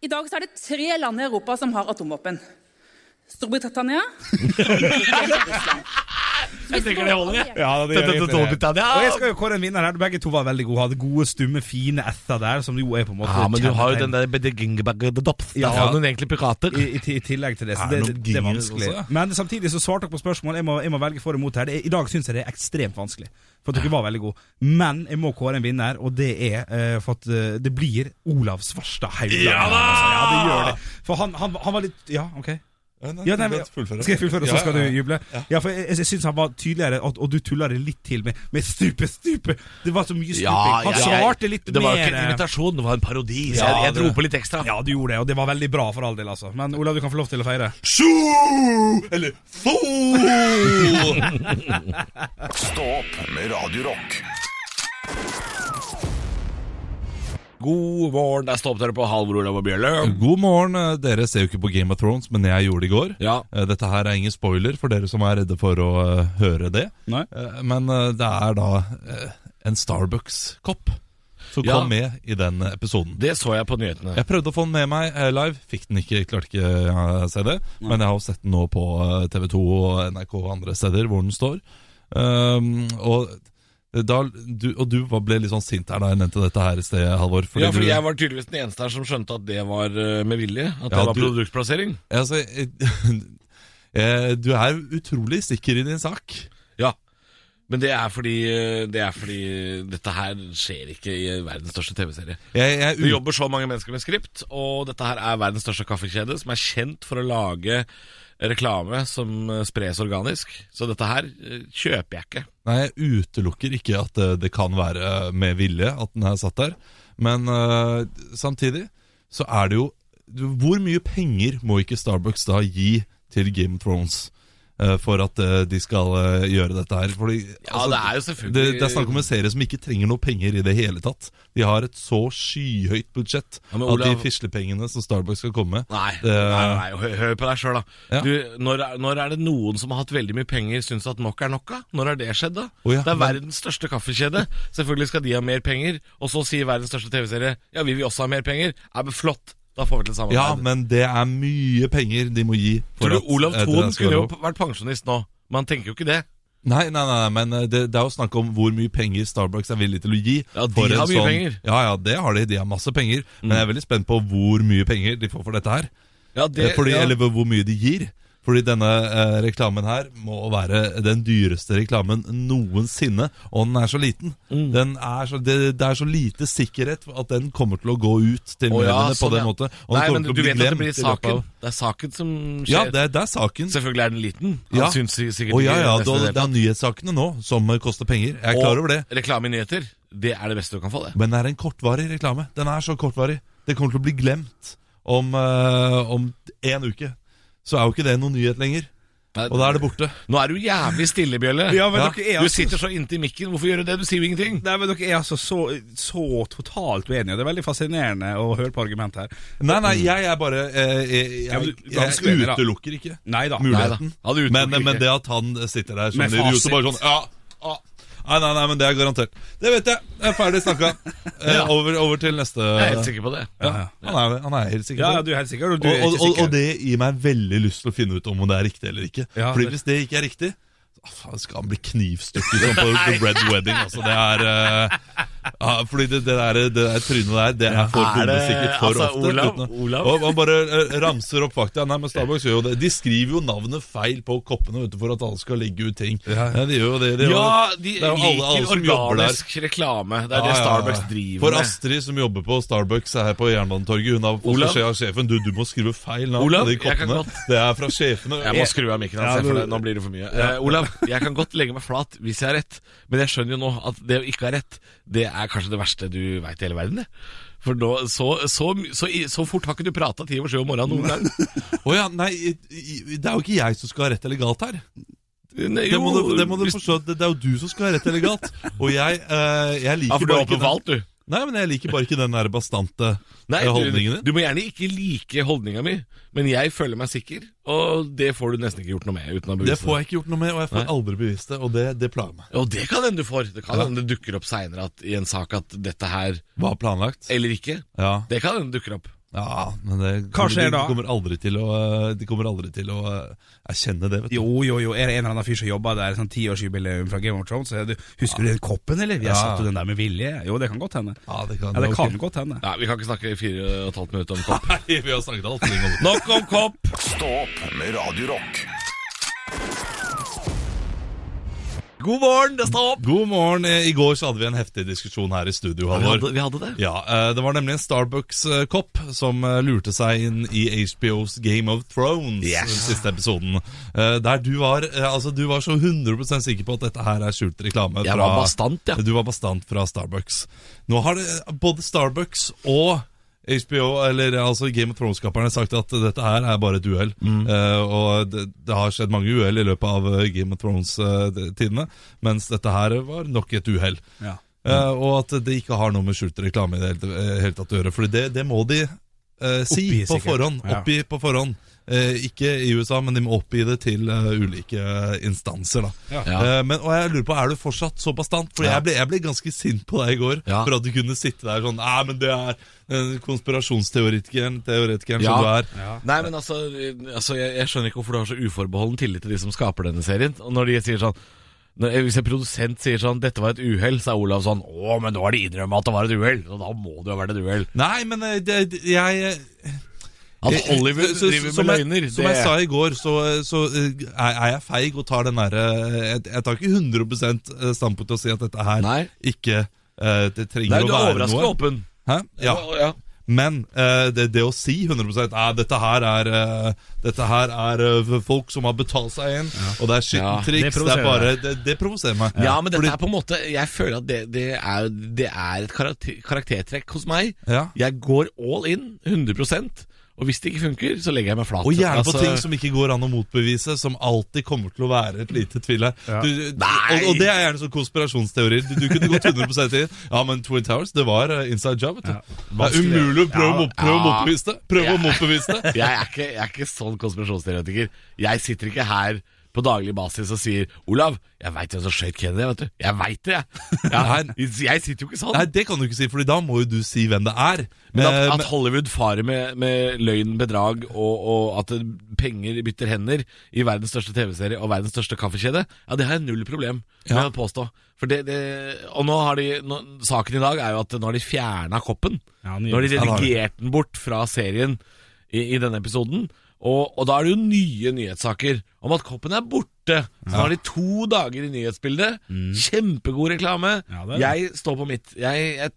F: I dag så er det tre land i Europa som har atomvåpen. Storbritannia, Frankrike og Russland. Så hvis
D: tenker
F: våre
D: det holder, jeg.
F: allierte-
E: Ja, det gjør
D: Dette
E: egentlig det.
D: Storbritannia.
C: Og jeg skal jo kåre en vinner her. Begge to var veldig gode. Hadde gode, stumme, fine æther der, som jo er på en måte
D: Ja, men du har jo
C: kjennetegn-
D: den der bedegingbergedopf.
C: Ja.
D: Der har du en egentlig pirater.
C: I, i, ti- I tillegg til det, så
E: Er
C: det,
E: det
C: det,
E: noen
C: det er
E: ginger
C: vanskelig.
E: også, ja?
C: Men samtidig så svarte dere på spørsmål. Jeg må, jeg må velge for og mot her. Det er, I dag syns jeg det er ekstremt vanskelig, for dere var veldig gode. Men jeg må kåre en vinner, og det er eh, for at eh, det blir Olav Svarstad Haugland.
D: Ja da!
C: Altså, ja, det gjør det. For han, han, han var litt Ja, OK.
E: Ja, nei,
C: Ja, nei,
E: la
C: men,
E: oss fullføre.
C: skal jeg fullføre,
E: Ja,
C: så skal
E: ja, ja.
C: du juble? Ja, for jeg, jeg syns han var tydeligere, og, og du tulla det litt til med, med stupe, stupe! Det var så mye stuping. han
D: jeg-
C: svarte litt
D: Det var jo ikke en
C: mer eh,
D: invitasjon, det var en parodi. Så
E: Ja,
D: jeg, jeg
E: det-
D: dro på litt ekstra.
C: Ja, du gjorde det, og det var veldig bra for all del, altså. Men Olav, du kan få lov til å feire.
E: Sjo! Eller fo!
A: Stå opp med Radio Rock.
D: God morgen, der står dere på Halvor Olav og Bjørløv.
E: God morgen. eh, Dere ser jo ikke på Game of Thrones, men jeg gjorde det i går.
D: Ja.
E: Eh, Dette her er ingen spoiler for dere som er redde for å eh, høre det.
C: Nei.
E: Eh, Men eh, det er da eh, en Starbucks-kopp som
D: Ja.
E: kom med i den episoden.
D: Det så jeg på nyhetene.
E: Jeg prøvde å få den med meg eh, live, fikk den ikke, klarte ikke eh, å se det. Men jeg har jo sett den nå på eh, TV2 og NRK og andre steder hvor den står. Um, og, da, du, og du var- ble litt sånn sint her da jeg nevnte dette her et sted, Halvor. fordi
D: ja, for
E: du-
D: jeg var tydeligvis den eneste her som skjønte at det var eh, med vilje. At det
E: Ja,
D: var
E: du-
D: produktplassering.
E: altså, eh, eh, Du er utrolig sikker i din sak.
D: Ja. Men det er fordi, eh, det er fordi dette her skjer ikke i verdens største TV-serie.
E: Jeg, jeg,
D: Det jobber så mange mennesker med skript, og dette her er verdens største kaffekjede, som er kjent for å lage reklame som eh, spres organisk. Så dette her eh, kjøper jeg ikke.
E: Nei, jeg utelukker ikke at det, det kan være med vilje at den er satt der. Men øh, samtidig så er det jo du- Hvor mye penger må ikke Starbucks da gi til Game of Thrones øh, for at øh, de skal øh, gjøre dette her? Fordi,
D: Ja, Altså,
E: altså,
D: det er jo selvfølgelig
E: det, det er snakk om en serie som ikke trenger noe penger i det hele tatt. De har et så skyhøyt budsjett
D: Ja, men
E: at de
D: Olav-
E: fislepengene som Starbucks skal komme med
D: Nei,
E: Det-
D: nei, nei hør, hør på deg sjøl, da.
E: Eh. Ja.
D: Du, når, er- når er det noen som har hatt veldig mye penger, syns at nok er nok? av? Når har det skjedd, da?
E: Å ja,
D: det er
E: men-
D: verdens største kaffekjede. Selvfølgelig skal de ha mer penger. Og så sier verdens største TV-serie ja, vi vil også ha mer penger. Ja, men flott, da får vi til samarbeid.
E: Ja, men det er mye penger de må gi. for
D: Tror du
E: at,
D: Olav
E: øh, det
D: Thon
E: skal
D: kunne jo
E: gå.
D: vært pensjonist nå? Men han tenker jo ikke det.
E: Nei, nei, nei, men eh, det, det er jo snakk om hvor mye penger Starbucks er villig til å gi.
D: Ja, de
E: for en sånn-
D: har mye penger. Mm.
E: Ja, ja, det har de. De har masse penger. Men jeg er veldig spent på hvor mye penger de får for dette her.
D: Ja,
E: Eh, Fordi, Eller hvor mye de gir. Fordi denne eh, reklamen her må være den dyreste reklamen noensinne. Og den er så liten.
D: Mm.
E: Den er så, det, det er så lite sikkerhet for at den kommer til å gå ut til
D: Å, ja,
E: mediene
D: sånn,
E: på den
D: ja.
E: måten. Og den
D: Nei,
E: kommer
D: men du
E: til
D: vet
E: å bli
D: at det
E: glemt
D: blir
E: i løpet
D: saken.
E: av-
D: Det er saken som skjer.
E: Ja, det, det er saken.
D: Selvfølgelig er den liten. Han
E: Ja.
D: syns sikkert
E: Å ja, ja,
D: ikke
E: det,
D: neste
E: det er nyhetssakene nå som eh, koster penger. Jeg er klar over det.
D: Og reklame i nyheter, det er det beste du kan få, det.
E: Men det er en kortvarig reklame. Den er så kortvarig. Det kommer til å bli glemt om, eh, om en uke. Så er jo ikke det noen nyhet lenger.
D: Nei,
E: Og da er det borte.
D: Nå er du jævlig stille, Bjølle.
C: Ja, men
E: Ja.
C: dere er
D: Du
C: altså
D: sitter så inntil mikken. Hvorfor gjør du det? Du sier jo ingenting.
C: Nei, men dere er altså så, så totalt uenige. Det er veldig fascinerende å høre på argument her.
E: Nei, nei, jeg er bare eh, Jeg,
C: Mm. Ja, men
E: jeg,
C: du-
E: jeg,
C: ganske uenig, da.
E: utelukker ikke
C: Nei da.
D: Nei
E: muligheten.
D: da. Ja, du utelukker
E: men,
D: ikke.
E: men det at han sitter der som
C: Med
E: en idiot
C: fasit.
E: og bare sånn ja, ja. Nei, nei, nei, men det er garantert. Det vet jeg. Jeg er ferdig snakka. Eh, over, over til neste.
D: Jeg er helt sikker på det.
E: Ja, han, er, han er helt sikker.
C: Ja,
E: på
C: ja,
E: det.
C: du er helt sikker. Og du
E: og,
C: er
E: og,
C: ikke
E: og, og
C: sikker.
E: det gir meg veldig lyst til å finne ut om det er riktig eller ikke.
C: Ja,
E: Fordi
C: det-
E: Hvis det ikke er riktig, så ah, faen, skal han bli knivstukket som på The Red Wedding. Altså, det er eh, ja, Fordi det, det, der, det der trynet der, det er for
D: Er det-
E: bombesikkert for
D: altså,
E: ofte.
D: Olav-
E: uten å-
D: Olav?
E: Og Man bare eh, ramser opp fakta. Nei, men Starbucks gjør jo det. De skriver jo navnet feil på koppene vet du, for at alle skal legge ut ting. Ja, de gjør jo det. De,
D: Ja, de
E: gjør- det er jo alle, alle som
D: liker
E: jobber der.
D: organisk reklame. Det er
E: Ja,
D: det
E: ja, ja.
D: Starbucks driver
E: For
D: med.
E: Astrid som jobber på Starbucks her på Jernbanetorget, hun har fått
D: Olav?
E: beskjed av sjefen Du, du må skrive feil navn
D: Olav,
E: på de
D: jeg kan
E: koppene.
D: godt-
E: Det er fra sjefene.
D: Jeg må skru av mikken.
C: Ja,
D: Altså, for
C: du-
D: det, nå blir det for mye. Eh, Olav, jeg kan godt legge meg flat hvis jeg har rett, men jeg skjønner jo nå at det å ikke ha rett, det er kanskje det verste du veit i hele verden. det. For nå, så, så, så, så fort har ikke du prata ti over sju om morgenen noen gang.
E: Å ja, nei, i- i- det er jo ikke jeg som skal ha rett eller galt her.
D: Nei,
E: Det må du, det må du
D: hvis-
E: forstå. Det, det er jo du som skal ha rett eller galt. Og jeg, eh, jeg liker
D: Ja, for du
E: bare
D: har
E: ikke den-
D: overfalt, du.
E: Nei, men jeg liker bare ikke den der bastante
D: Nei,
E: eh, holdningen
D: du,
E: din.
D: du må gjerne ikke like holdninga mi, men jeg føler meg sikker, og det får du nesten ikke gjort noe med uten å bevise
E: Det får jeg ikke gjort noe med, og jeg får aldri bevist det, og det, det plager meg.
D: Og det kan hende du får. Det kan hende det dukker opp seinere i en sak at dette her,
E: Var planlagt?
D: eller ikke,
E: Ja.
D: det kan hende dukker opp.
E: Ja, men det
C: Hva skjer da?
E: De kommer aldri til å, de kommer aldri til å eh, erkjenne det. vet du
C: Jo, jo, jo, er det en eller annen fyr som jobber der, sånn tiårsjubileum fra Game of Thrones, så er det, husker du den koppen, eller? Jeg
E: Ja.
C: satte den der med vilje. Jo, det kan godt hende.
E: Ja, det kan,
C: Ja, det
E: ok.
C: kan godt hende.
D: Nei, Vi kan ikke snakke i fire og et halvt minutt om kopp.
E: Nei, vi har snakket alt. Ringvold.
D: Nok om kopp!
A: Stå opp med Radio Rock.
D: God morgen, det står opp!
E: God morgen. Eh, I går så hadde vi en heftig diskusjon her i
D: Vi
E: studio, Halvor.
D: hadde, vi hadde det.
E: Ja, eh, Det var nemlig en Starbucks-kopp som eh, lurte seg inn i HBOs Game of Thrones. Den siste episoden Eh, Der du var eh, altså du var så 100 sikker på at dette her er skjult reklame.
D: Jeg var bastant, ja.
E: Du var bastant fra Starbucks. Nå har det, både Starbucks og HBO, eller altså Game of Thrones-skaperne, sagt at dette her er bare et uhell.
D: Mm.
E: Eh, og det, det har skjedd mange uhell i løpet av eh, Game of Thrones-tidene, mens dette her var nok et uhell.
C: Ja.
E: Eh, og at det ikke har noe med skjult reklame i det hele, eh, hele tatt å gjøre. Fordi det, det må de eh, si
C: Oppgi,
E: på
C: sikkert.
E: forhånd.
C: Ja.
E: Oppgi på forhånd. Eh, ikke i USA, men de må oppgi det til eh, ulike instanser. Da.
C: Ja.
D: Ja.
E: Eh, men, og jeg lurer på, Er du fortsatt så bastant? For
D: Ja.
E: jeg, ble, jeg ble ganske sint på deg i går
D: Ja.
E: for at du kunne sitte der sånn Nei, men det er eh, konspirasjonsteoretikeren teoretikeren
D: Ja.
E: som du er.
D: Nei, men altså, altså jeg, jeg skjønner ikke hvorfor du har så uforbeholden tillit til de som skaper denne serien. Og når de sier sånn når, Hvis en produsent sier sånn 'Dette var et uhell', så er Olav sånn 'Å, men nå har de innrømmet at det var et uhell', så da må det jo ha vært et uhell.
E: Nei, men eh, det, det- jeg
D: At
E: Eh,
D: Hollywood
E: så- så-
D: driver med
E: som jeg-
D: løgner,
E: Som jeg sa i går, så, så eh, er er jeg feig og tar den derre jeg, jeg tar ikke 100 standpunkt til å si at dette her
D: Nei.
E: ikke eh, Det trenger
D: Nei, du
E: å
D: er
E: være
D: overraskende
E: noe.
D: åpen.
E: Hæ? Ja.
D: ja.
E: Men eh, det, det å si 100 «Nei, dette her er, eh, dette her er eh, folk som har betalt seg inn, og det
D: Ja, det
E: er skitten triks. Det,
C: provoserer
E: er bare, det, det provoserer meg.
D: Ja, men dette er på en måte Jeg føler at det, det, er, det er et karakter, karaktertrekk hos meg.
E: Ja.
D: Jeg går all in, 100 og hvis det ikke funker, så legger jeg meg flat.
E: Og gjerne
D: Altså,
E: på ting som ikke går an å motbevise, som alltid kommer til å være et lite tvil her.
C: Ja.
E: Du- du-
D: Nei!
E: Og, og det er gjerne sånn konspirasjonsteorier. Du, du kunne gått 100 i Ja, men Twin Towers, det var eh, inside job, vet du. det er
C: vanskelig.
E: umulig å prøve,
C: Ja,
E: å mot- prøve å
D: ja.
E: motbevise det. Prøve
D: Ja.
E: å motbevise det.
D: jeg, er ikke, jeg er ikke sånn konspirasjonsteoretiker. Jeg sitter ikke her på daglig basis og sier 'Olav, jeg veit hvem som skjøt Kennedy', vet du. Jeg veit det, jeg. Jeg, jeg sitter jo ikke sånn.
E: Nei, det kan du ikke si, Fordi da må jo du si hvem det er.
D: Men at,
E: Eh,
D: at Hollywood farer med, med løgn, bedrag og, og at penger bytter hender i verdens største TV-serie og verdens største kaffekjede, ja, det har jeg null problem med
E: Ja.
D: å påstå. For det, det, og nå har de, nå, saken i dag er jo at nå har de fjerna koppen.
C: Ja, nydelig.
D: nå har de
E: Ja, det har de.
D: redigert den bort fra serien i, i denne episoden. Og, og da er det jo nye nyhetssaker om at koppen er borte. Så nå har de to dager i nyhetsbildet. Kjempegod reklame.
C: Ja, det er det.
D: Jeg står på mitt. Jeg, jeg,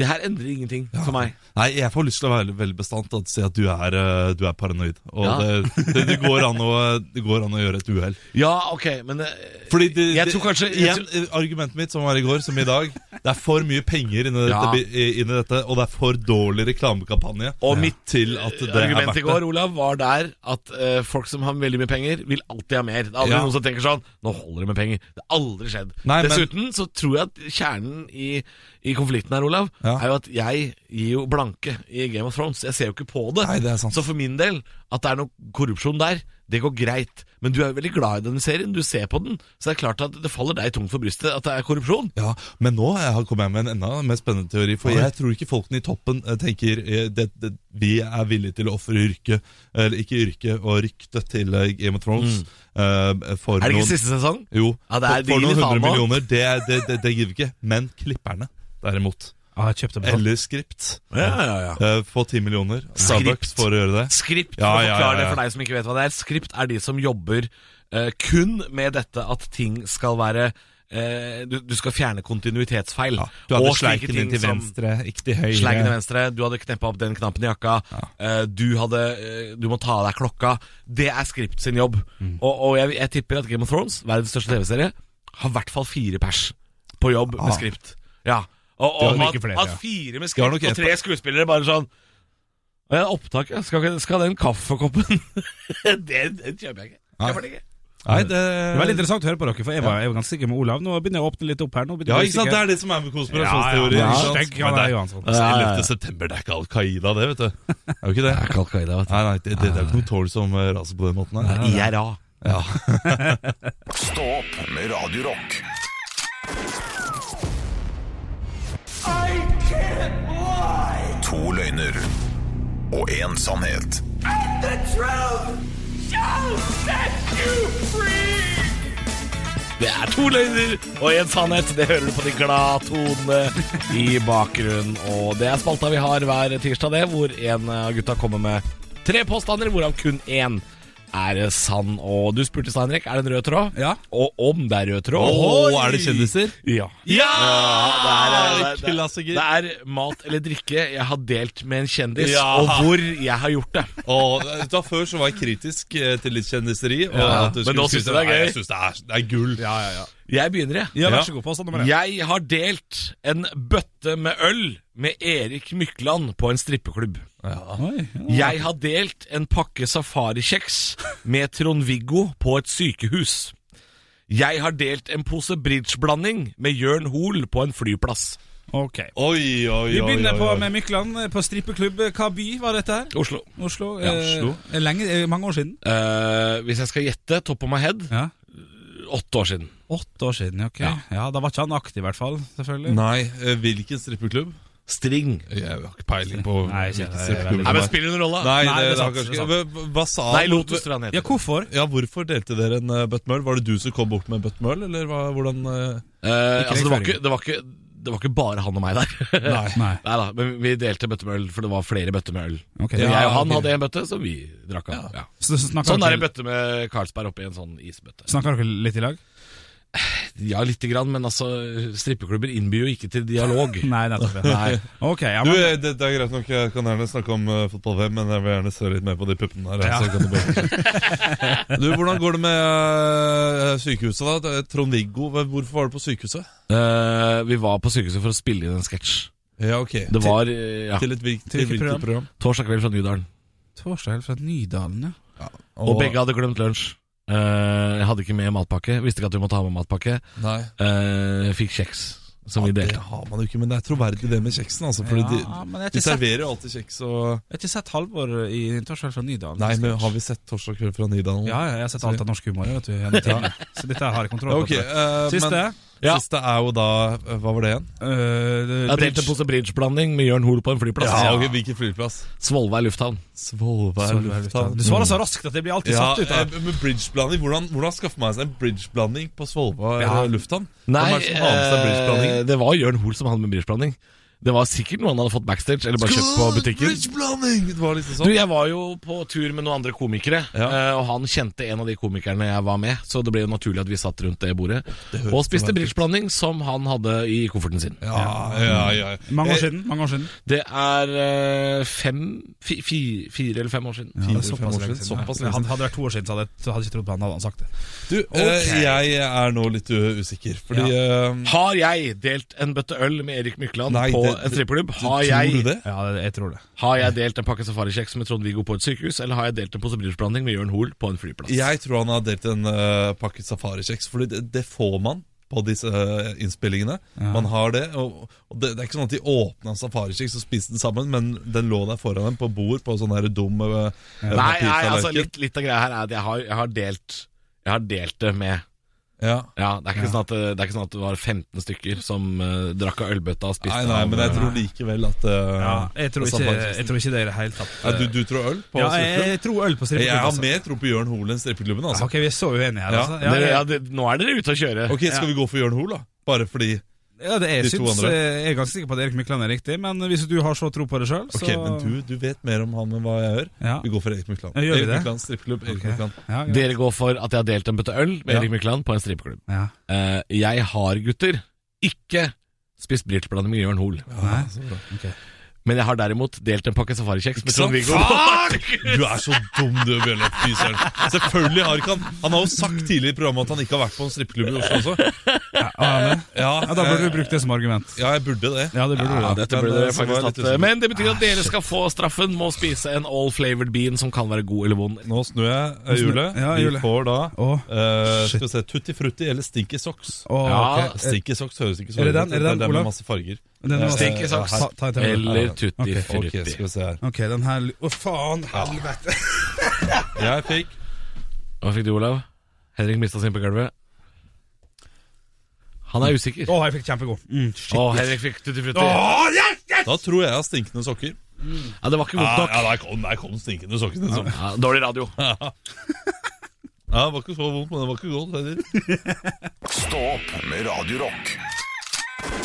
D: det her endrer ingenting for meg.
E: Nei, jeg får lyst til å være veldig bestandt og si at du er, eh, du er paranoid. Og
D: Ja.
E: det, det, det, går an å, det går an å gjøre et uhell.
D: Ja, ok, men eh,
E: Fordi det,
D: Jeg tror kanskje- jeg
E: igjen, Argumentet mitt som var i går, som i dag Det er for mye penger inni dette,
D: Ja.
E: bi- inni dette og det er for dårlig reklamekampanje
D: Og mitt
E: til at det
D: eh,
E: er
D: argumentet
E: verdt
D: i
E: det.
D: går, Olav, var der at eh, folk som har veldig mye penger, vil alltid ha mer. Det er aldri
E: Ja.
D: noen som tenker sånn Nå holder det med penger. Det har aldri skjedd.
E: Nei, men-
D: Dessuten så tror jeg at kjernen i, i konflikten her, Olav,
E: Ja.
D: er jo at jeg gir jo blanke i Game of Thrones. Jeg ser jo ikke på det.
E: Nei, det er sant.
D: Så for min del, at det er noe korrupsjon der, det går greit. Men du er jo veldig glad i denne serien, du ser på den, så det er klart at det faller deg tungt for brystet at det er korrupsjon.
E: Ja, Men nå eh, har- kommer jeg med en enda mer spennende teori. For jeg tror ikke folkene i toppen eh, tenker eh, det, det, vi er villige til å ofre yrket, eller ikke yrket, og ryktet til eh, Game of Thrones eh, for
D: Mm. Er det ikke
E: noen
D: siste sesong?
E: Jo,
D: Ja, det er-
E: for, for
D: det gir
E: noen
D: vi faen
E: hundre
D: på.
E: millioner. Det, det, det, det gidder vi ikke. Men klipperne, derimot.
C: Ja, jeg kjøpte betalt.
E: Eller Script.
D: Ja, ja, ja.
E: Eh, Få 10 millioner Starbucks for å gjøre det.
D: Skript,
E: Ja,
D: for å
E: ja,
D: forklare
E: ja,
D: det
E: ja.
D: for deg som ikke vet hva det er Skript er de som jobber eh, kun med dette at ting skal være eh, du, du skal fjerne kontinuitetsfeil
E: Du hadde
D: Og slike
E: sleiken
D: ting
E: din til
D: som-
E: venstre, ikke til høyre.
D: Sleiken til venstre, du hadde kneppa opp den knappen i jakka. eh, Du hadde eh, Du må ta av deg klokka. Det er Skript sin jobb. Og, og jeg, jeg tipper at Game of Thrones, verdens største TV-serie, har i hvert fall fire pers på jobb med Skript. Ja. Og,
C: Det
D: og
C: var
D: at,
C: ikke flere,
D: at
C: ja.
D: fire med
E: Det var
D: Skript
E: nok
D: og
E: et-
D: tre skuespillere bare sånn ja, Opptak, ja. Skal, ikke- skal den kaffekoppen det, det kjøper jeg ikke.
E: Nei.
D: Kjøper det ikke.
E: Nei, det
C: Det er veldig interessant å høre på dere, for jeg var, jeg var ganske sikker med Olav. Nå begynner jeg å åpne litt opp her. Nå
E: Ja,
C: begynner jeg
E: ikke
C: å
E: sant? Det
C: bli sikker.
E: er det som er med
C: Ja, ja,
E: konspirasjonsteorier.
C: ja.
E: ikke sant?
C: Stygg, ja,
E: Men
C: det er
E: det-
C: jo han sånn.
E: altså,
D: Ja, ja, ja.
E: 11. september, det er ikke Al Qaida, det, vet du. Er jo ikke
D: Det
E: det?
D: er ikke Al-Qaida, vet
E: Nei, nei, det, det er ikke noe tål som eh, raser på den måten.
D: du.
E: Her.
D: IRA.
E: Ja.
A: Stå opp med Radio Rock. To løgner og én sannhet.
G: And the truth shall set you free!
D: Det er to løgner og en sannhet. Det hører du på de glade tonene i bakgrunnen. Og det er spalta vi har hver tirsdag, det, hvor en av gutta kommer med tre påstander, hvorav kun én er sann. Og du spurte Steinrek, er det en rød tråd?
C: Ja.
D: Og om det er rød tråd?
E: Åh, er det kjendiser?
D: Ja.
E: Ja! eh,
D: Ja, det er- det er-
E: Klassiker.
D: Det er mat eller drikke jeg har delt med en kjendis,
E: Ja.
D: og hvor jeg har gjort det.
E: Og da Før så var jeg kritisk eh, til litt kjendiseri. Og
D: Ja,
E: at du
D: men
E: skulle
D: nå synes du
E: skryte-
D: det er
E: Nei,
D: gøy.
E: Jeg synes det er, det er gull.
D: Jeg begynner, jeg.
C: Ja,
E: Ja.
C: vær så god. Påstand nummer én.
D: Jeg har delt en bøtte med øl med Erik Mykland på en strippeklubb.
C: Oi, ja.
D: Jeg har delt en pakke safarikjeks med Trond-Viggo på et sykehus. Jeg har delt en pose bridgeblanding med Jørn Hoel på en flyplass.
C: Ok.
E: Oi, oi, oi.
C: Vi begynner
E: oi,
C: på
E: oi.
C: med Mykland eh, på strippeklubb. Hva by var dette her?
D: Oslo.
C: Oslo.
E: Ja, Oslo.
C: Eh, lenge, eh, mange år siden?
D: Eh, hvis jeg skal gjette, topp of my head,
C: Ja.
D: åtte år siden.
C: Åtte år siden, ok. Ja. Da var ikke han aktiv, i hvert fall. selvfølgelig.
E: Nei, eh, hvilken strippeklubb?
D: String.
E: Jeg har ikke peiling på
C: Nei, jeg kjenner-
E: hvilken
C: det
E: strippeklubb.
D: Nei, men spiller noen rolle.
C: Nei,
E: Nei, det,
C: det er
E: det har
C: sant,
E: kanskje
C: det er
E: ikke Hva- Hva sa
D: Nei, Lotus tror jeg han heter.
C: Ja, hvorfor?
E: Ja, Hvorfor delte dere en eh, bøtte med øl? Var det du som kom bort med en bøtte med øl, eller hva, hvordan eh?
D: Eh,
C: Ikke
D: altså, det, var
C: rekruttering.
D: ikke, det, var ikke, det var ikke bare han og meg der. Nei.
C: Nei.
D: da, men vi delte bøtte med øl, for det var flere bøtter med øl.
C: Ok.
D: Så jeg og
C: ok.
D: han hadde en bøtte, som vi drakk av. Ja.
C: Så snakker
D: Sånn er en
C: dere,
D: bøtte med Carlsberg oppi en sånn isbøtte.
C: snakker dere litt i lag?
D: Ja, lite grann, men altså, strippeklubber innbyr jo ikke til dialog.
C: Nei, nettopp. ja.
D: Nei.
C: Ok, ja,
E: Du,
C: men,
E: eh, det, det er greit nok, jeg kan gjerne snakke om eh, fotball-VM, men jeg vil gjerne se litt mer på de puppene her. Så kan du, bare... du, hvordan går det med eh, sykehuset, da? Det er Trond-Viggo, hva- hvorfor var du på sykehuset?
D: Eh, vi var på sykehuset for å spille inn en sketsj.
E: Ja, ok.
D: Det var eh, ja,
E: Til et virk- til
C: hvilket
E: hvilket program?
D: torsdag kveld fra Nydalen.
C: Torsdag helt fra Nydalen, ja.
D: Og begge hadde glemt lunsj. Eh, jeg hadde ikke med matpakke. Visste ikke at vi måtte ha med matpakke.
E: Nei.
D: Eh, fikk kjeks, som vi
E: Ja, det
D: delte.
E: har man jo ikke, men det er troverdig det med kjeksen. Altså, fordi
C: Ja, men jeg har
E: de, de
C: ikke sett-
E: serverer jo alltid kjeks. Og...
C: Jeg har ikke sett Halvor i Torsdag fra Nydalen.
E: Nei, men har vi sett 'Torsdag kveld fra Nydalen'?
C: Ja, ja, jeg har sett alt av norsk humor, jeg, vet du. gjennom tidene. Så dette her har jeg kontroll på.
E: Ok,
C: tror jeg.
E: eh,
C: Siste.
E: Men, Siste er jo da eh, Hva var det igjen?
C: øh, det-
D: Jeg delte en pose bridgeblanding med Jørn Hoel på en flyplass.
E: ok, Hvilken flyplass?
D: Svolvær lufthavn.
E: Svolvær
C: Sorry, Lufthavn. Du svarer så raskt at jeg blir alltid
E: Ja,
C: satt ut. av
E: eh, men bridgeblanding Hvordan, hvordan skaffer man seg en bridgeblanding på Svolvær
C: Ja.
E: eh, lufthavn? Hvem er det som har med seg bridgeblanding?
D: eh, det var Jørn Hoel som hadde med bridgeblanding. Det var sikkert noe han hadde fått backstage, eller bare kjøpt på butikken.
E: Bridgeblanding! Det var liksom
D: Du,
E: sånn.
D: jeg var jo på tur med noen andre komikere, eh, og han kjente en av de komikerne jeg var med, så det ble jo naturlig at vi satt rundt det bordet
E: høres
D: og spiste
E: som en-
D: bridgeblanding som han hadde i kofferten sin.
E: Ja, ja, ja, Eh, ja.
C: Mange år siden. mange år siden
D: Det er eh, fem fi, fi, Fire eller fem år siden.
C: Ja,
E: Fire,
C: det er
E: fem år
C: såpass lenge
E: siden.
C: siden.
E: Såpass lenge
C: Ja.
E: siden.
C: Han hadde det vært to år siden, så hadde jeg så hadde jeg ikke trodd på han hadde han sagt det.
E: Du, eh, jeg er nå litt uh, usikker, fordi eh,
D: Har jeg delt en bøtte øl med Erik Mykland
E: Nei,
D: på
E: det-
D: en strippeklubb? Har,
E: Tror
D: jeg-
E: du det?
C: Ja, det- jeg tror det.
D: har jeg delt en pakke safarikjeks med Trond-Viggo på et sykehus, eller har jeg delt en pose bridgeblanding med Jørn Hoel på en flyplass?
E: Jeg tror han har delt en uh, pakket safarikjeks, Fordi det, det får man på disse eh, innspillingene. Man har det, og, og det, det er ikke sånn at de åpna en safarikjeks og spiste den sammen, men den lå der foran dem på bord på sånn her dum uh,
D: Nei, nei altså litt, litt av greia her er at jeg har, jeg har, delt, jeg har delt det med
E: ja.
D: ja, det, er ikke sånn at, det er ikke sånn at det var 15 stykker som eh, drakk av ølbøtta og spiste
E: Nei, nei,
D: av-
E: men jeg tror likevel at eh,
C: Ja, jeg, tror ikke,
E: safarikjeksen-
C: jeg tror ikke det i det hele tatt.
E: ja, du, du tror øl på
C: Ja, jeg,
E: strippeklubben?
C: jeg tror øl på
E: Jeg,
C: strippeklubb.
E: har
C: altså.
E: mer tro på Jørn Hoel enn strippeklubben, altså.
C: Ok, vi er så uenige her,
E: Ja.
C: altså.
D: Dere,
C: jeg-
D: ja, det, nå er dere ute å kjøre.
E: Ok, skal vi gå for Jørn Hoel, da? Bare fordi
C: Ja, det er,
E: De
C: jeg,
E: to
C: syns,
E: andre.
C: eh, jeg er ganske sikker på at Erik Mykland er riktig, men hvis du har så tro på det sjøl, så
E: Ok, men du, du vet mer om han enn hva jeg gjør.
C: Ja.
E: Vi går for Erik Mykland.
C: Ja, gjør vi
E: Erik
C: det?
E: Mykland, strippeklubb,
C: Ok.
E: Erik Mykland.
C: Ja, greit.
D: Dere går for at jeg har delt en bøtte øl med
E: Ja.
D: Erik Mykland på en strippeklubb.
C: ja.
D: Eh, jeg har, gutter, ikke spist bridgeblanding med Jørn Hoel.
C: Nei.
E: Så bra.
D: Men jeg har derimot delt en pakke safarikjeks med
E: Ikke sant?
D: Trond-Viggo.
E: Du er så dum, du, Bjørn Leif. Fy søren. Selvfølgelig har ikke han Han har jo sagt tidligere i programmet at han ikke har vært på en strippeklubb i Oslo også.
C: Ja,
D: Eh,
E: Ja,
C: ja, da burde du brukt det som argument.
E: ja jeg burde det.
C: Ja, det burde du.
D: Ja,
C: da.
D: dette
E: Men,
D: burde
E: eh,
D: dere
E: så var
D: faktisk
E: jeg litt
D: tatt.
E: usikker.
D: Men det betyr at dere skal få straffen med å spise en all flavored bean som kan være god eller vond.
E: Nå snur jeg eh,
C: snur-
E: hjulet.
C: ja, hjulet.
E: Vi får da
C: Å.
E: eh, Skal vi se Tutti Frutti eller Stinky Socks.
C: Å,
D: Ja,
C: ok.
E: Stinky Socks høres ikke så
C: Er det
E: veldig
C: den? Er det den,
E: ut. med
C: Olav?
E: masse farger.
C: Den var-
D: Stinky socks.
C: Ta- ta en til.
D: Eller tutti
C: Ok,
E: Ok,
D: frutti.
E: skal vi se her.
C: Ok, den her Å, faen! Helvete!
E: Jeg fikk
D: Hva fikk du, Olav? Henrik mista sin på gulvet. Han er usikker.
C: Å, jeg fikk kjempegod. Mm, shit.
D: Å, Henrik fikk tutti frutti.
E: Da tror jeg jeg har stinkende sokker.
D: Ja, det var ikke
E: Ja,
D: godt nok.
E: ja, der kom, der kom stinkende sokken. Liksom.
D: Ah, Ja, dårlig radio.
E: Ja, det var ikke så vondt, men det var ikke godt heller.
A: Stå opp med Radio Rock.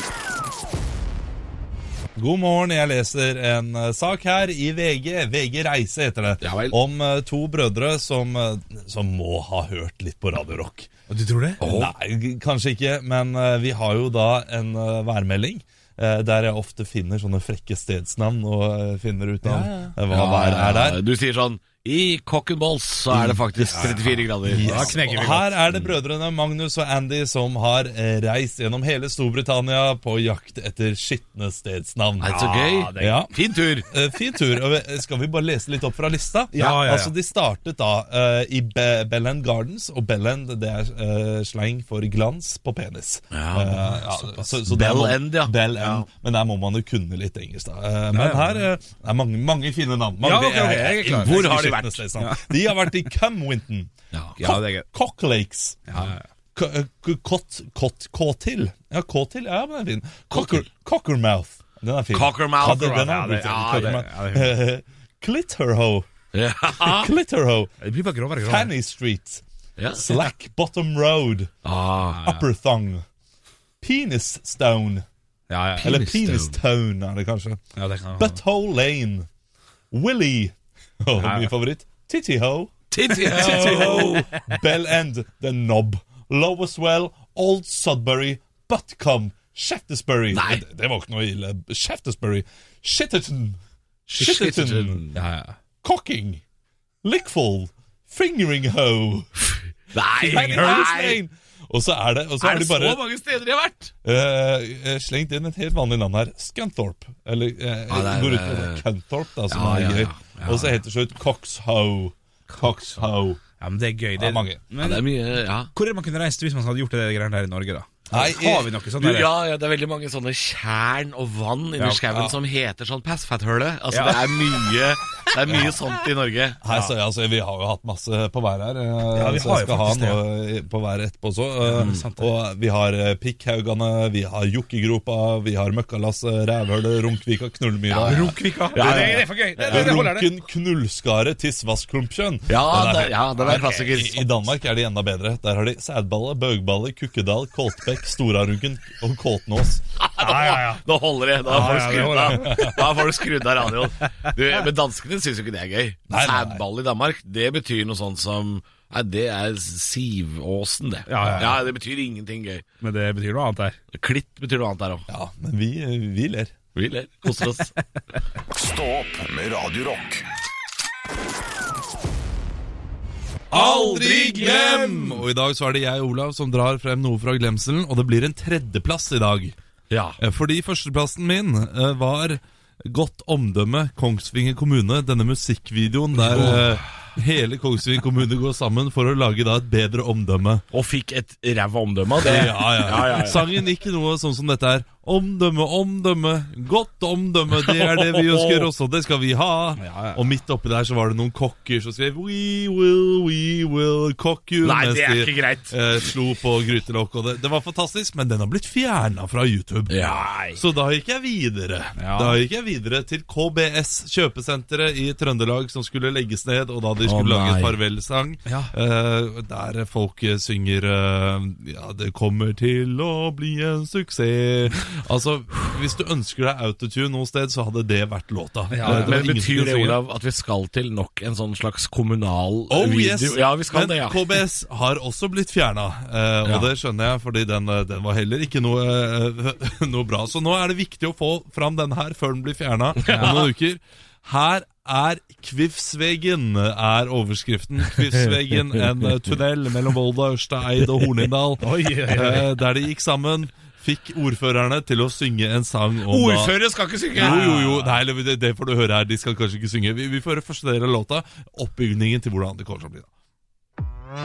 E: God morgen, jeg leser en eh, sak her i VG. VG Reise heter det.
D: Ja vel.
E: Om eh, to brødre som, eh, som må ha hørt litt på Radio Rock.
D: Du tror det?
E: Nei, g- kanskje ikke, men eh, vi har jo da en eh, værmelding. eh, Der jeg ofte finner sånne frekke stedsnavn og eh, finner ut av eh, hva været er der.
D: Du sier sånn I Cock'n'Balls så er det faktisk 34 grader. Ah,
E: Yes. og her er det brødrene Magnus og Andy som har eh, reist gjennom hele Storbritannia på jakt etter skitne stedsnavn.
D: Nei, så gøy.
E: Ja, det- Ja.
D: Fin tur.
E: Eh, Fin tur. og vi- Skal vi bare lese litt opp fra lista?
C: Ja, ja, ja.
E: Altså, De startet da eh, i Be Bellend Gardens, og Bellend det er eh, slang for glans på penis.
D: Ja,
E: Eh, ja, så, så der
D: Bell
E: må-
D: End, ja.
E: Bell
D: Ja.
E: End. Men der må man jo kunne litt engelsk, da. Eh, men
C: Ja, ja.
E: her eh, det er mange, mange fine navn. Mange,
C: Ja, ok, ok, jeg er klar.
E: Hvor har de
D: Skitne
E: vært? De har vært i Cumwinton.
C: Ja, det er gøy.
E: Cocklakes. K- eh, k- Kott Kott Kåtil. Ja, Kåtil. Ja, men den er fin. Cocker, Cockermouth. Den er fin.
D: Cockermouth.
E: Ja, den, den er
C: Ja, det- ja, det- ja, det
E: Clitterho.
D: Ja.
E: Clitterho.
C: Det blir bare grovere og grovere.
E: Fanny Street.
D: Ja.
E: Slack Bottom Road.
D: Ah,
E: Upper Thong. Penis Stone.
C: Ja, ja.
E: Eller
D: Penis Ah.
E: Penis Tone, er det kanskje.
C: ja, det kan
E: Butthole Lane. Willy. Oh,
D: Ah.
E: min favoritt. Titty Ho.
D: Titty
E: Titty
D: ho.
E: Ho, Bell End, The Knob, Lowerswell, Old Sudbury, Buttcombe, Shaftesbury
D: Nei.
E: Det, det var ikke noe ille. Shaftesbury. Shitterton. Shitterton.
D: Shitterton.
C: Ja, ja.
E: Cocking. Lickful. Fingering Ho.
D: Nei,
E: Nei, nei,
D: nei.
E: nei. Og så er det, og så
D: Er
E: er
D: det
E: det
D: så
E: bare
D: mange steder jeg har vært?
E: eh, eh, slengt inn et helt vanlig navn her. Scunthorpe. Eller eh,
D: Ja, det er-
E: går ut på Cunthorpe, da, som
D: Ja,
E: er
D: ja,
E: gøy.
D: ja, ja.
E: Og så helt til slutt Coxho. Coxho.
C: ja, men det er gøy.
E: Det er mange.
D: Ja, det er mye, ja.
C: Hvor er det man kunne reist hvis man hadde gjort det greiene der i Norge, da?
E: Nei,
C: har vi noe sånt?
D: Du,
C: der?
D: ja, ja, det er veldig mange sånne tjern og vann inni
C: Ja.
D: skauen
E: Ja.
D: som heter sånn passfathøle. Altså,
C: Ja.
D: det er mye, det er mye sånt i Norge.
E: Her, så, altså, vi har jo hatt masse på hver her,
C: vi
E: eh, så
C: har
E: jeg
C: jo
E: skal ha
C: faktisk det,
E: noe i- på hver etterpå også. eh, og vi har eh, Pikkhaugane, vi har Jokkegropa, vi har Møkkalasset, Rævhølet, Runkvika, Knullmyra.
C: Rokvika.
D: ja, ja.
C: Det, det er for gøy. Det, det, det holder, det.
E: Runken, Knullskare, Tissvassklumpkjønn.
D: Ja,
E: Den er-
D: det- ja, den er klassiker.
E: I, I Danmark er de enda bedre. Der har de Sædballe, Bøgballe, Kukkedal, Koltbekk, Storarunken og Koltenås.
C: Ja, ja, ja.
D: Nå holder det. Da får du
C: ja, det
D: skrudd
C: holder.
D: av, da får du skrudd av radioen. Du, men danskene syns jo ikke det er gøy.
E: Nei, nei, nei.
D: Sædball i Danmark, det betyr noe sånt som Nei, det er Sivåsen, det.
C: Ja, ja, ja.
D: Det betyr ingenting gøy.
C: Men det betyr noe annet der.
D: Klitt betyr noe annet der òg.
E: Ja, men vi, eh, vi ler.
D: Vi ler. Koser oss.
A: Stå opp med Radio Rock.
E: Aldri glem! Og i dag så er det jeg, Olav, som drar frem noe fra glemselen, og det blir en tredjeplass i dag.
D: Ja.
E: Eh, Fordi førsteplassen min eh, var Godt omdømme Kongsvinger kommune, denne musikkvideoen der eh, hele Kongsvinger kommune går sammen for å lage da et bedre omdømme.
D: Og fikk et ræva omdømme av det.
E: Ja, ja. Sangen gikk noe sånn som dette her. Omdømme, omdømme, godt omdømme, det er det vi ønsker også, det skal vi ha. Og midt oppi der så var det noen kokker som skrev We will, we will cock you.
D: Nei,
E: mens
D: det er
E: de,
D: ikke greit.
E: eh, slo på grytelokk, og det, det var fantastisk, men den har blitt fjerna fra YouTube.
D: Nei.
E: Så da gikk jeg videre.
C: Ja.
E: Da gikk jeg videre til KBS, kjøpesenteret i Trøndelag, som skulle legges ned, og da de skulle
D: Å,
E: lage en
D: nei.
E: farvelsang,
C: Ja.
E: eh, der folk eh, synger eh, Ja, det kommer til å bli en suksess. Altså, hvis du ønsker deg autotune noe sted, så hadde det vært låta.
C: Ja,
E: Eh, det var
D: Men
E: ingen som
D: betyr
E: kunne
D: det,
E: synge.
D: Olav, at vi skal til nok en sånn slags kommunal
E: Oh
D: video?
E: yes,
D: Ja, vi skal
E: men
D: det, ja.
E: KBS har også blitt fjerna. og
D: Ja.
E: det skjønner jeg, fordi den, eh, den var heller ikke noe, eh, noe bra. Så nå er det viktig å få fram den her før den blir fjerna om noen uker. Her er Kvivsveggen, er overskriften. Kvivsveggen, en eh, tunnel mellom Volda, Ørsteid og Hornindal, eh, der de gikk sammen. Fikk ordførerne til å synge en sang om da-
D: Ordfører skal ikke synge!
E: jo, jo, jo. Nei, eller det, det får du høre her. De skal kanskje ikke synge. Vi, vi får høre første del av låta. Oppbygningen til hvordan det kommer til å bli. da.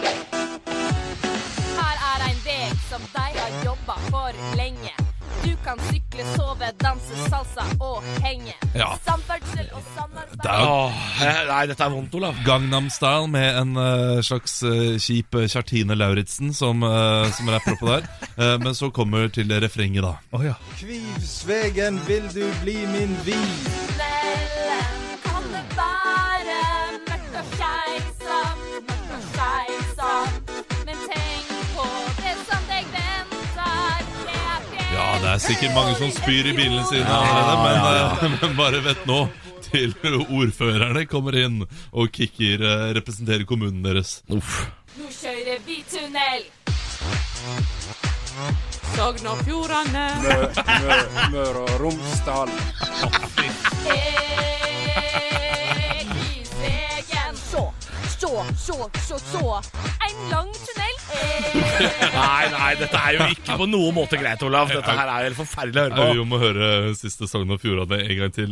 H: Her er ein veg som dei har jobba for lenge. Du kan sykle, sove, danse salsa og henge.
E: Ja.
H: Samferdsel og samarbeid
E: Det er jo
D: Åh, eh, nei, dette er vondt, Olav.
E: Gangnam Style med en eh, slags eh, kjip eh, Kjartine Lauritzen som, uh, som rapper oppå der. Eh, men så kommer til refrenget, da.
I: Kvivsvegen, vil du bli min vin?
H: med kvelden kan det være mørkt og skeivsomt, mørkt og skeivsomt. Men tenk på det som deg venter. Det er fjell.
E: Ja, det er sikkert mange som spyr i bilene sine allerede, men, eh, men bare vet nå til ordførerne kommer inn og kicker eh, representerer kommunen deres.
D: Uff.
H: Nå kjører vi tunnel.
I: Sogn og Fjordane.
J: Møre og Romsdal.
H: Hey, i Segen. Så, så, så, så, så. En lang tunnel. Hey.
D: Nei, nei, dette er jo ikke på noen måte greit, Olav. Dette her er jo helt forferdelig å
E: Nei,
D: høre på.
E: vi må høre siste Sogn og Fjordane en gang til.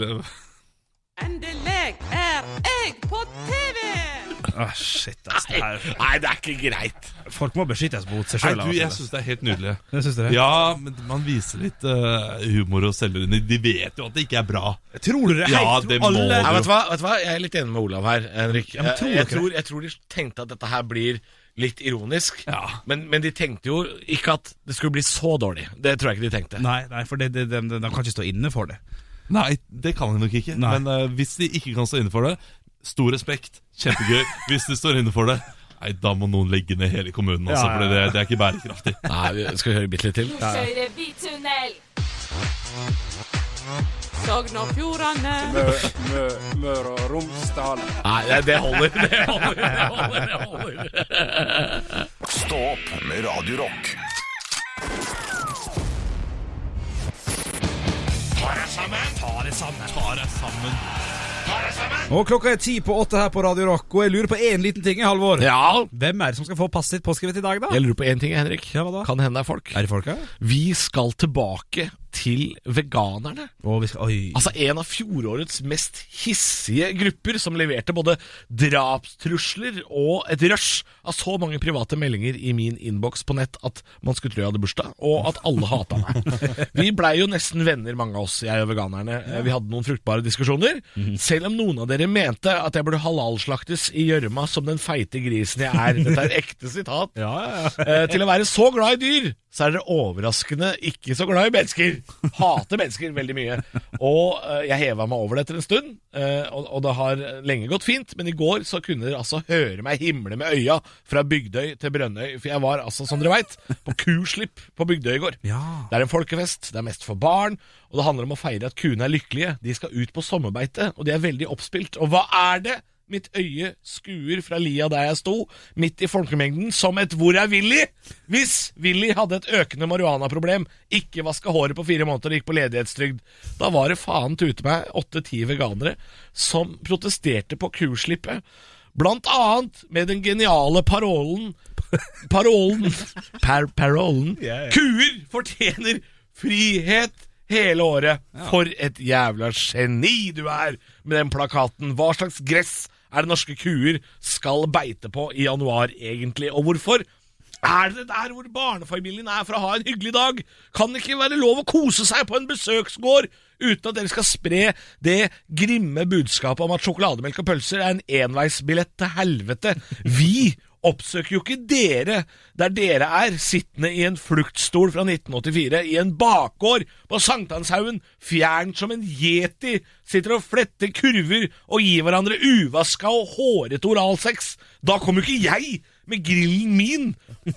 I: Endelig er jeg på TV!
C: Ah, shit, ass. Det
D: Nei,
C: er,
D: nei, det er ikke greit.
C: folk må beskyttes mot seg altså.
E: Nei,
C: sjøl.
E: du, jeg syns det er helt nydelig.
C: Det syns dere?
E: Ja, men man viser litt eh, humor og selvironi. De vet jo at det ikke er bra.
C: Tror dere
E: Ja,
C: helt
E: det
C: tror
E: må
C: alle
E: du.
D: Nei, vet, du hva? vet du hva, Jeg er litt enig med Olav her, Henrik.
C: men
D: Jeg,
C: tror
D: jeg,
C: dere
D: tror, jeg tror de tenkte at dette her blir litt ironisk.
E: Ja.
D: Men, men de tenkte jo ikke at det skulle bli så dårlig. Det tror jeg ikke de tenkte.
C: Nei, nei, for det, det, de, de, de kan ikke stå inne for det.
E: Nei, det kan jeg nok ikke.
C: Nei.
E: Men eh, hvis de ikke kan stå inne for det, stor respekt. Kjempegøy. hvis de står inne for det, nei, da må noen legge ned hele kommunen. Altså,
C: Ja, ja,
E: For det, det er ikke bærekraftig.
D: Nei, vi- Skal vi høre bitte litt til?
H: Nå kjører vi tunnel.
I: Sogn og Fjordane.
J: Mø, mø, Møre og Romsdal.
D: Nei, det- det holder. Det holder, det holder, det holder.
A: Stå opp med Radio Rock.
C: Og klokka er ti på åtte her på Radio Rock, og jeg lurer på én liten ting, Halvor.
D: Ja.
C: Hvem er det som skal få passet sitt påskrevet i dag, da?
D: Jeg lurer på én ting, Henrik.
C: Ja, hva da?
D: Kan hende det er folk.
C: Er det folk her?
D: Vi skal tilbake til veganerne.
C: Å, vi skal, oi.
D: Altså en av fjorårets mest hissige grupper, som leverte både drapstrusler og et rush av så mange private meldinger i min innboks på nett at man skulle tro jeg hadde bursdag, og at alle hata meg. Vi blei jo nesten venner, mange av oss, jeg og veganerne. Vi hadde noen fruktbare diskusjoner. Selv om noen av dere mente at jeg burde halalslaktes i gjørma som den feite grisen jeg er. Dette er et ekte sitat.
C: Ja, ja, ja.
D: Eh, til å være så glad i dyr, så er dere overraskende ikke så glad i mennesker. Hater mennesker veldig mye. Og eh, jeg heva meg over det etter en stund, eh, og, og det har lenge gått fint, men i går så kunne dere altså høre meg himle med øya fra Bygdøy til Brønnøy, for jeg var altså, som dere veit, på kuslipp på Bygdøy i går.
C: Ja.
D: Det er en folkefest, det er mest for barn, og det handler om å feire at kuene er lykkelige. De skal ut på sommerbeite, og de er veldig oppspilt. Og hva er det? Mitt øye skuer fra lia der jeg sto, midt i folkemengden, som et 'hvor er Willy?' Hvis Willy hadde et økende marihuanaproblem, ikke vaska håret på fire måneder og gikk på ledighetstrygd, da var det faen tute meg åtte-ti veganere som protesterte på kuslippet. Blant annet med den geniale parolen Parolen par, Parolen Kuer fortjener frihet hele året For et jævla geni du er Med den plakaten Hva slags gress er det norske kuer Skal beite på i januar egentlig Og hvorfor? Er det der hvor barnefamilien er for å ha en hyggelig dag? Kan det ikke være lov å kose seg på en besøksgård uten at dere skal spre det grimme budskapet om at sjokolademelk og pølser er en enveisbillett til helvete? Vi oppsøker jo ikke dere der dere er, sittende i en fluktstol fra 1984 i en bakgård på Sankthanshaugen, fjernt som en yeti, sitter og fletter kurver og gir hverandre uvaska og hårete oralsex. Da kommer jo ikke jeg med grillen min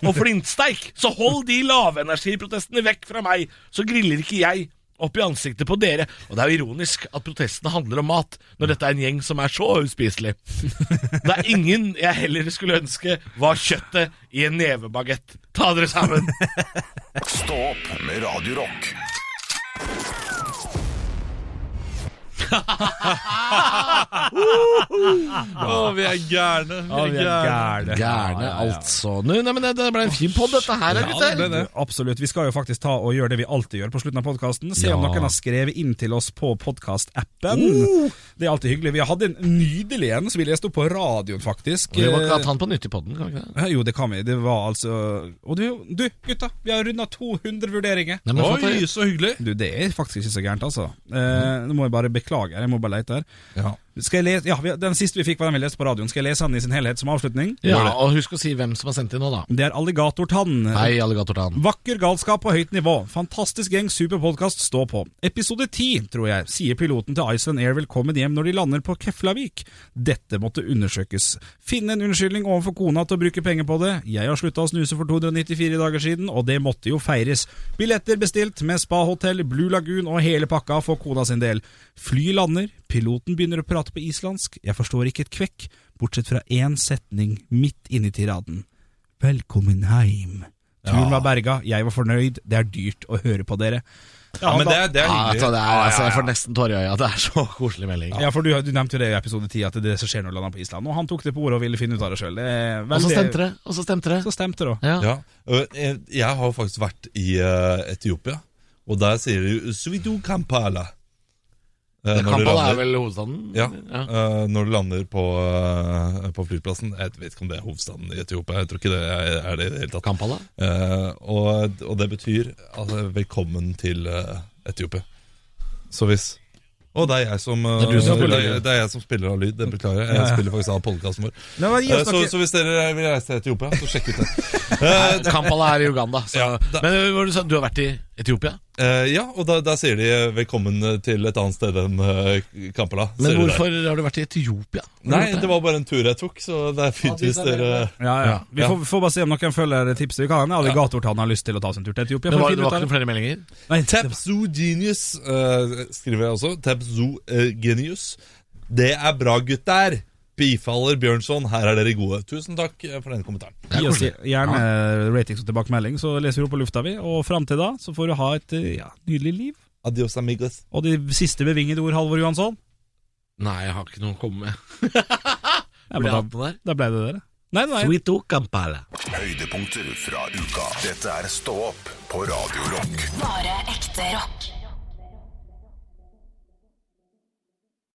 D: og flintsteik, så hold de lavenergiprotestene vekk fra meg, så griller ikke jeg opp i ansiktet på dere. Og det er jo ironisk at protestene handler om mat, når dette er en gjeng som er så uspiselig. Det er ingen jeg heller skulle ønske var kjøttet i en nevebagett. Ta dere sammen!
A: Stå opp med Radio Rock.
E: Å, vi er gærne! Vi er gærne.
C: Gærne.
D: altså. Nå, nei, men det, det ble en fin podd, dette her, gutter.
C: Du, Absolutt. Vi skal jo faktisk ta og gjøre det vi alltid gjør på slutten av podkasten. Se om
D: Ja.
C: noen har skrevet inn til oss på podkastappen. Det er alltid hyggelig. Vi hadde en nydelig en som vi leste opp på radioen, faktisk.
D: Vi må ikke ha han på nytt i podden, kan vi ikke det?
C: Eh, Jo, det kan vi. Det var altså Og du, du gutta, vi har runda 200 vurderinger.
D: Nei, men fatt det.
E: Oi, så hyggelig!
C: Du, det er faktisk ikke så gærent, altså. Eh, nå må jeg bare beklage, jeg må bare lete her.
E: Ja.
C: Skal jeg lese, ja, vi- Den siste vi fikk, var den vi leste på radioen. Skal jeg lese den i sin helhet som avslutning?
D: Ja, og husk å si hvem som har sendt inn nå, da.
C: Det er Alligatortann.
D: Hei, alligatortann.
C: Vakker galskap på høyt nivå. Fantastisk gjeng, super podkast, stå på. Episode 10, tror jeg, sier piloten til Iceland Air velkommen hjem når de lander på Keflavik. Dette måtte undersøkes. Finne en unnskyldning overfor kona til å bruke penger på det. Jeg har slutta å snuse for 294 dager siden, og det måtte jo feires. Billetter bestilt med spahotell, Blue Lagoon og hele pakka for kona sin del. Fly lander, piloten begynner å prate på islandsk, jeg forstår ikke et kvekk, bortsett fra én setning midt inni tiraden. Velkommen heim. Turen var berga, jeg var fornøyd, det er dyrt å høre på dere.
E: Ja, men det, er- det er
D: Ja, altså,
E: hyggelig.
D: det er, altså, jeg får nesten tårer i øya. Det er så koselig melding.
C: Ja, for du, du nevnte jo det i episode 10, at det er det som skjer når du lander på Island. Og han tok det på ordet og ville finne ut av det sjøl.
D: Og så stemte det. Og så stemte det.
C: Så stemte det også.
D: Ja.
E: Ja. Øh, Jeg jeg har jo faktisk vært i eh, Etiopia, og der sier de jo Svidu Kampala. Eh, når du
D: Kampala
E: lander-
D: er vel hovedstaden?
E: Ja, eh, når du lander på, eh, på flyplassen. Jeg vet ikke om det er hovedstaden i Etiopia. Jeg tror ikke det er er det i det hele tatt.
D: Kampala?
E: Eh, og, og det betyr altså, velkommen til eh, Etiopia. Så hvis Å, det er jeg som, eh,
D: Det er du som
E: det,
D: spiller.
E: er, det er jeg som spiller av lyd. Det beklager jeg. Jeg spiller faktisk av podkasten vår.
C: Nei, men gi
E: Eh,
C: oss
E: så,
C: noe-
E: så hvis dere vil reise til Etiopia, så sjekk ut det.
D: Kampala er i Uganda. Så.
E: Ja, da-
D: Men øh, hva du, sa, du har vært i Etiopia?
E: Eh, ja, og da, da sier de eh, 'velkommen til et annet sted enn eh, Kampala'.
D: Men
E: sier de der.
D: hvorfor har du vært i Etiopia?
E: Nei, det var bare en tur jeg tok, så det er fint hvis dere
C: Ja, ja.
D: Ja.
C: Vi får, vi får bare se om noen følger tipset. Vi kan hende alligatortann har lyst til å ta sin tur til Etiopia.
D: Det
C: for å
D: var,
C: finne
D: det
C: ut av
D: var ikke noen
C: det.
D: flere meldinger?
C: Nei, det var-
E: Tapzoo Genius eh, skriver jeg også. Tapzoo eh, Genius. Det er bra, gutter! Bifaller Bjørnson, her er dere gode. Tusen takk eh, for denne kommentaren.
C: Gi oss gjerne ratings og tilbakemelding, så leser vi opp på lufta, vi. Og fram til da så får du ha et eh, ja, nydelig liv.
E: Adios, amigos.
C: Og de siste bevingede ord, Halvor Johansson,
D: Nei, jeg har ikke noe å komme med.
C: ja,
D: Burde
C: men
D: jeg
C: da,
D: hatt noe der?
C: da ble det dere. Nei, nei.
D: Sweet O Kampala.
A: Høydepunkter fra uka. Dette er Stå opp på Radio Rock.
B: Bare ekte rock.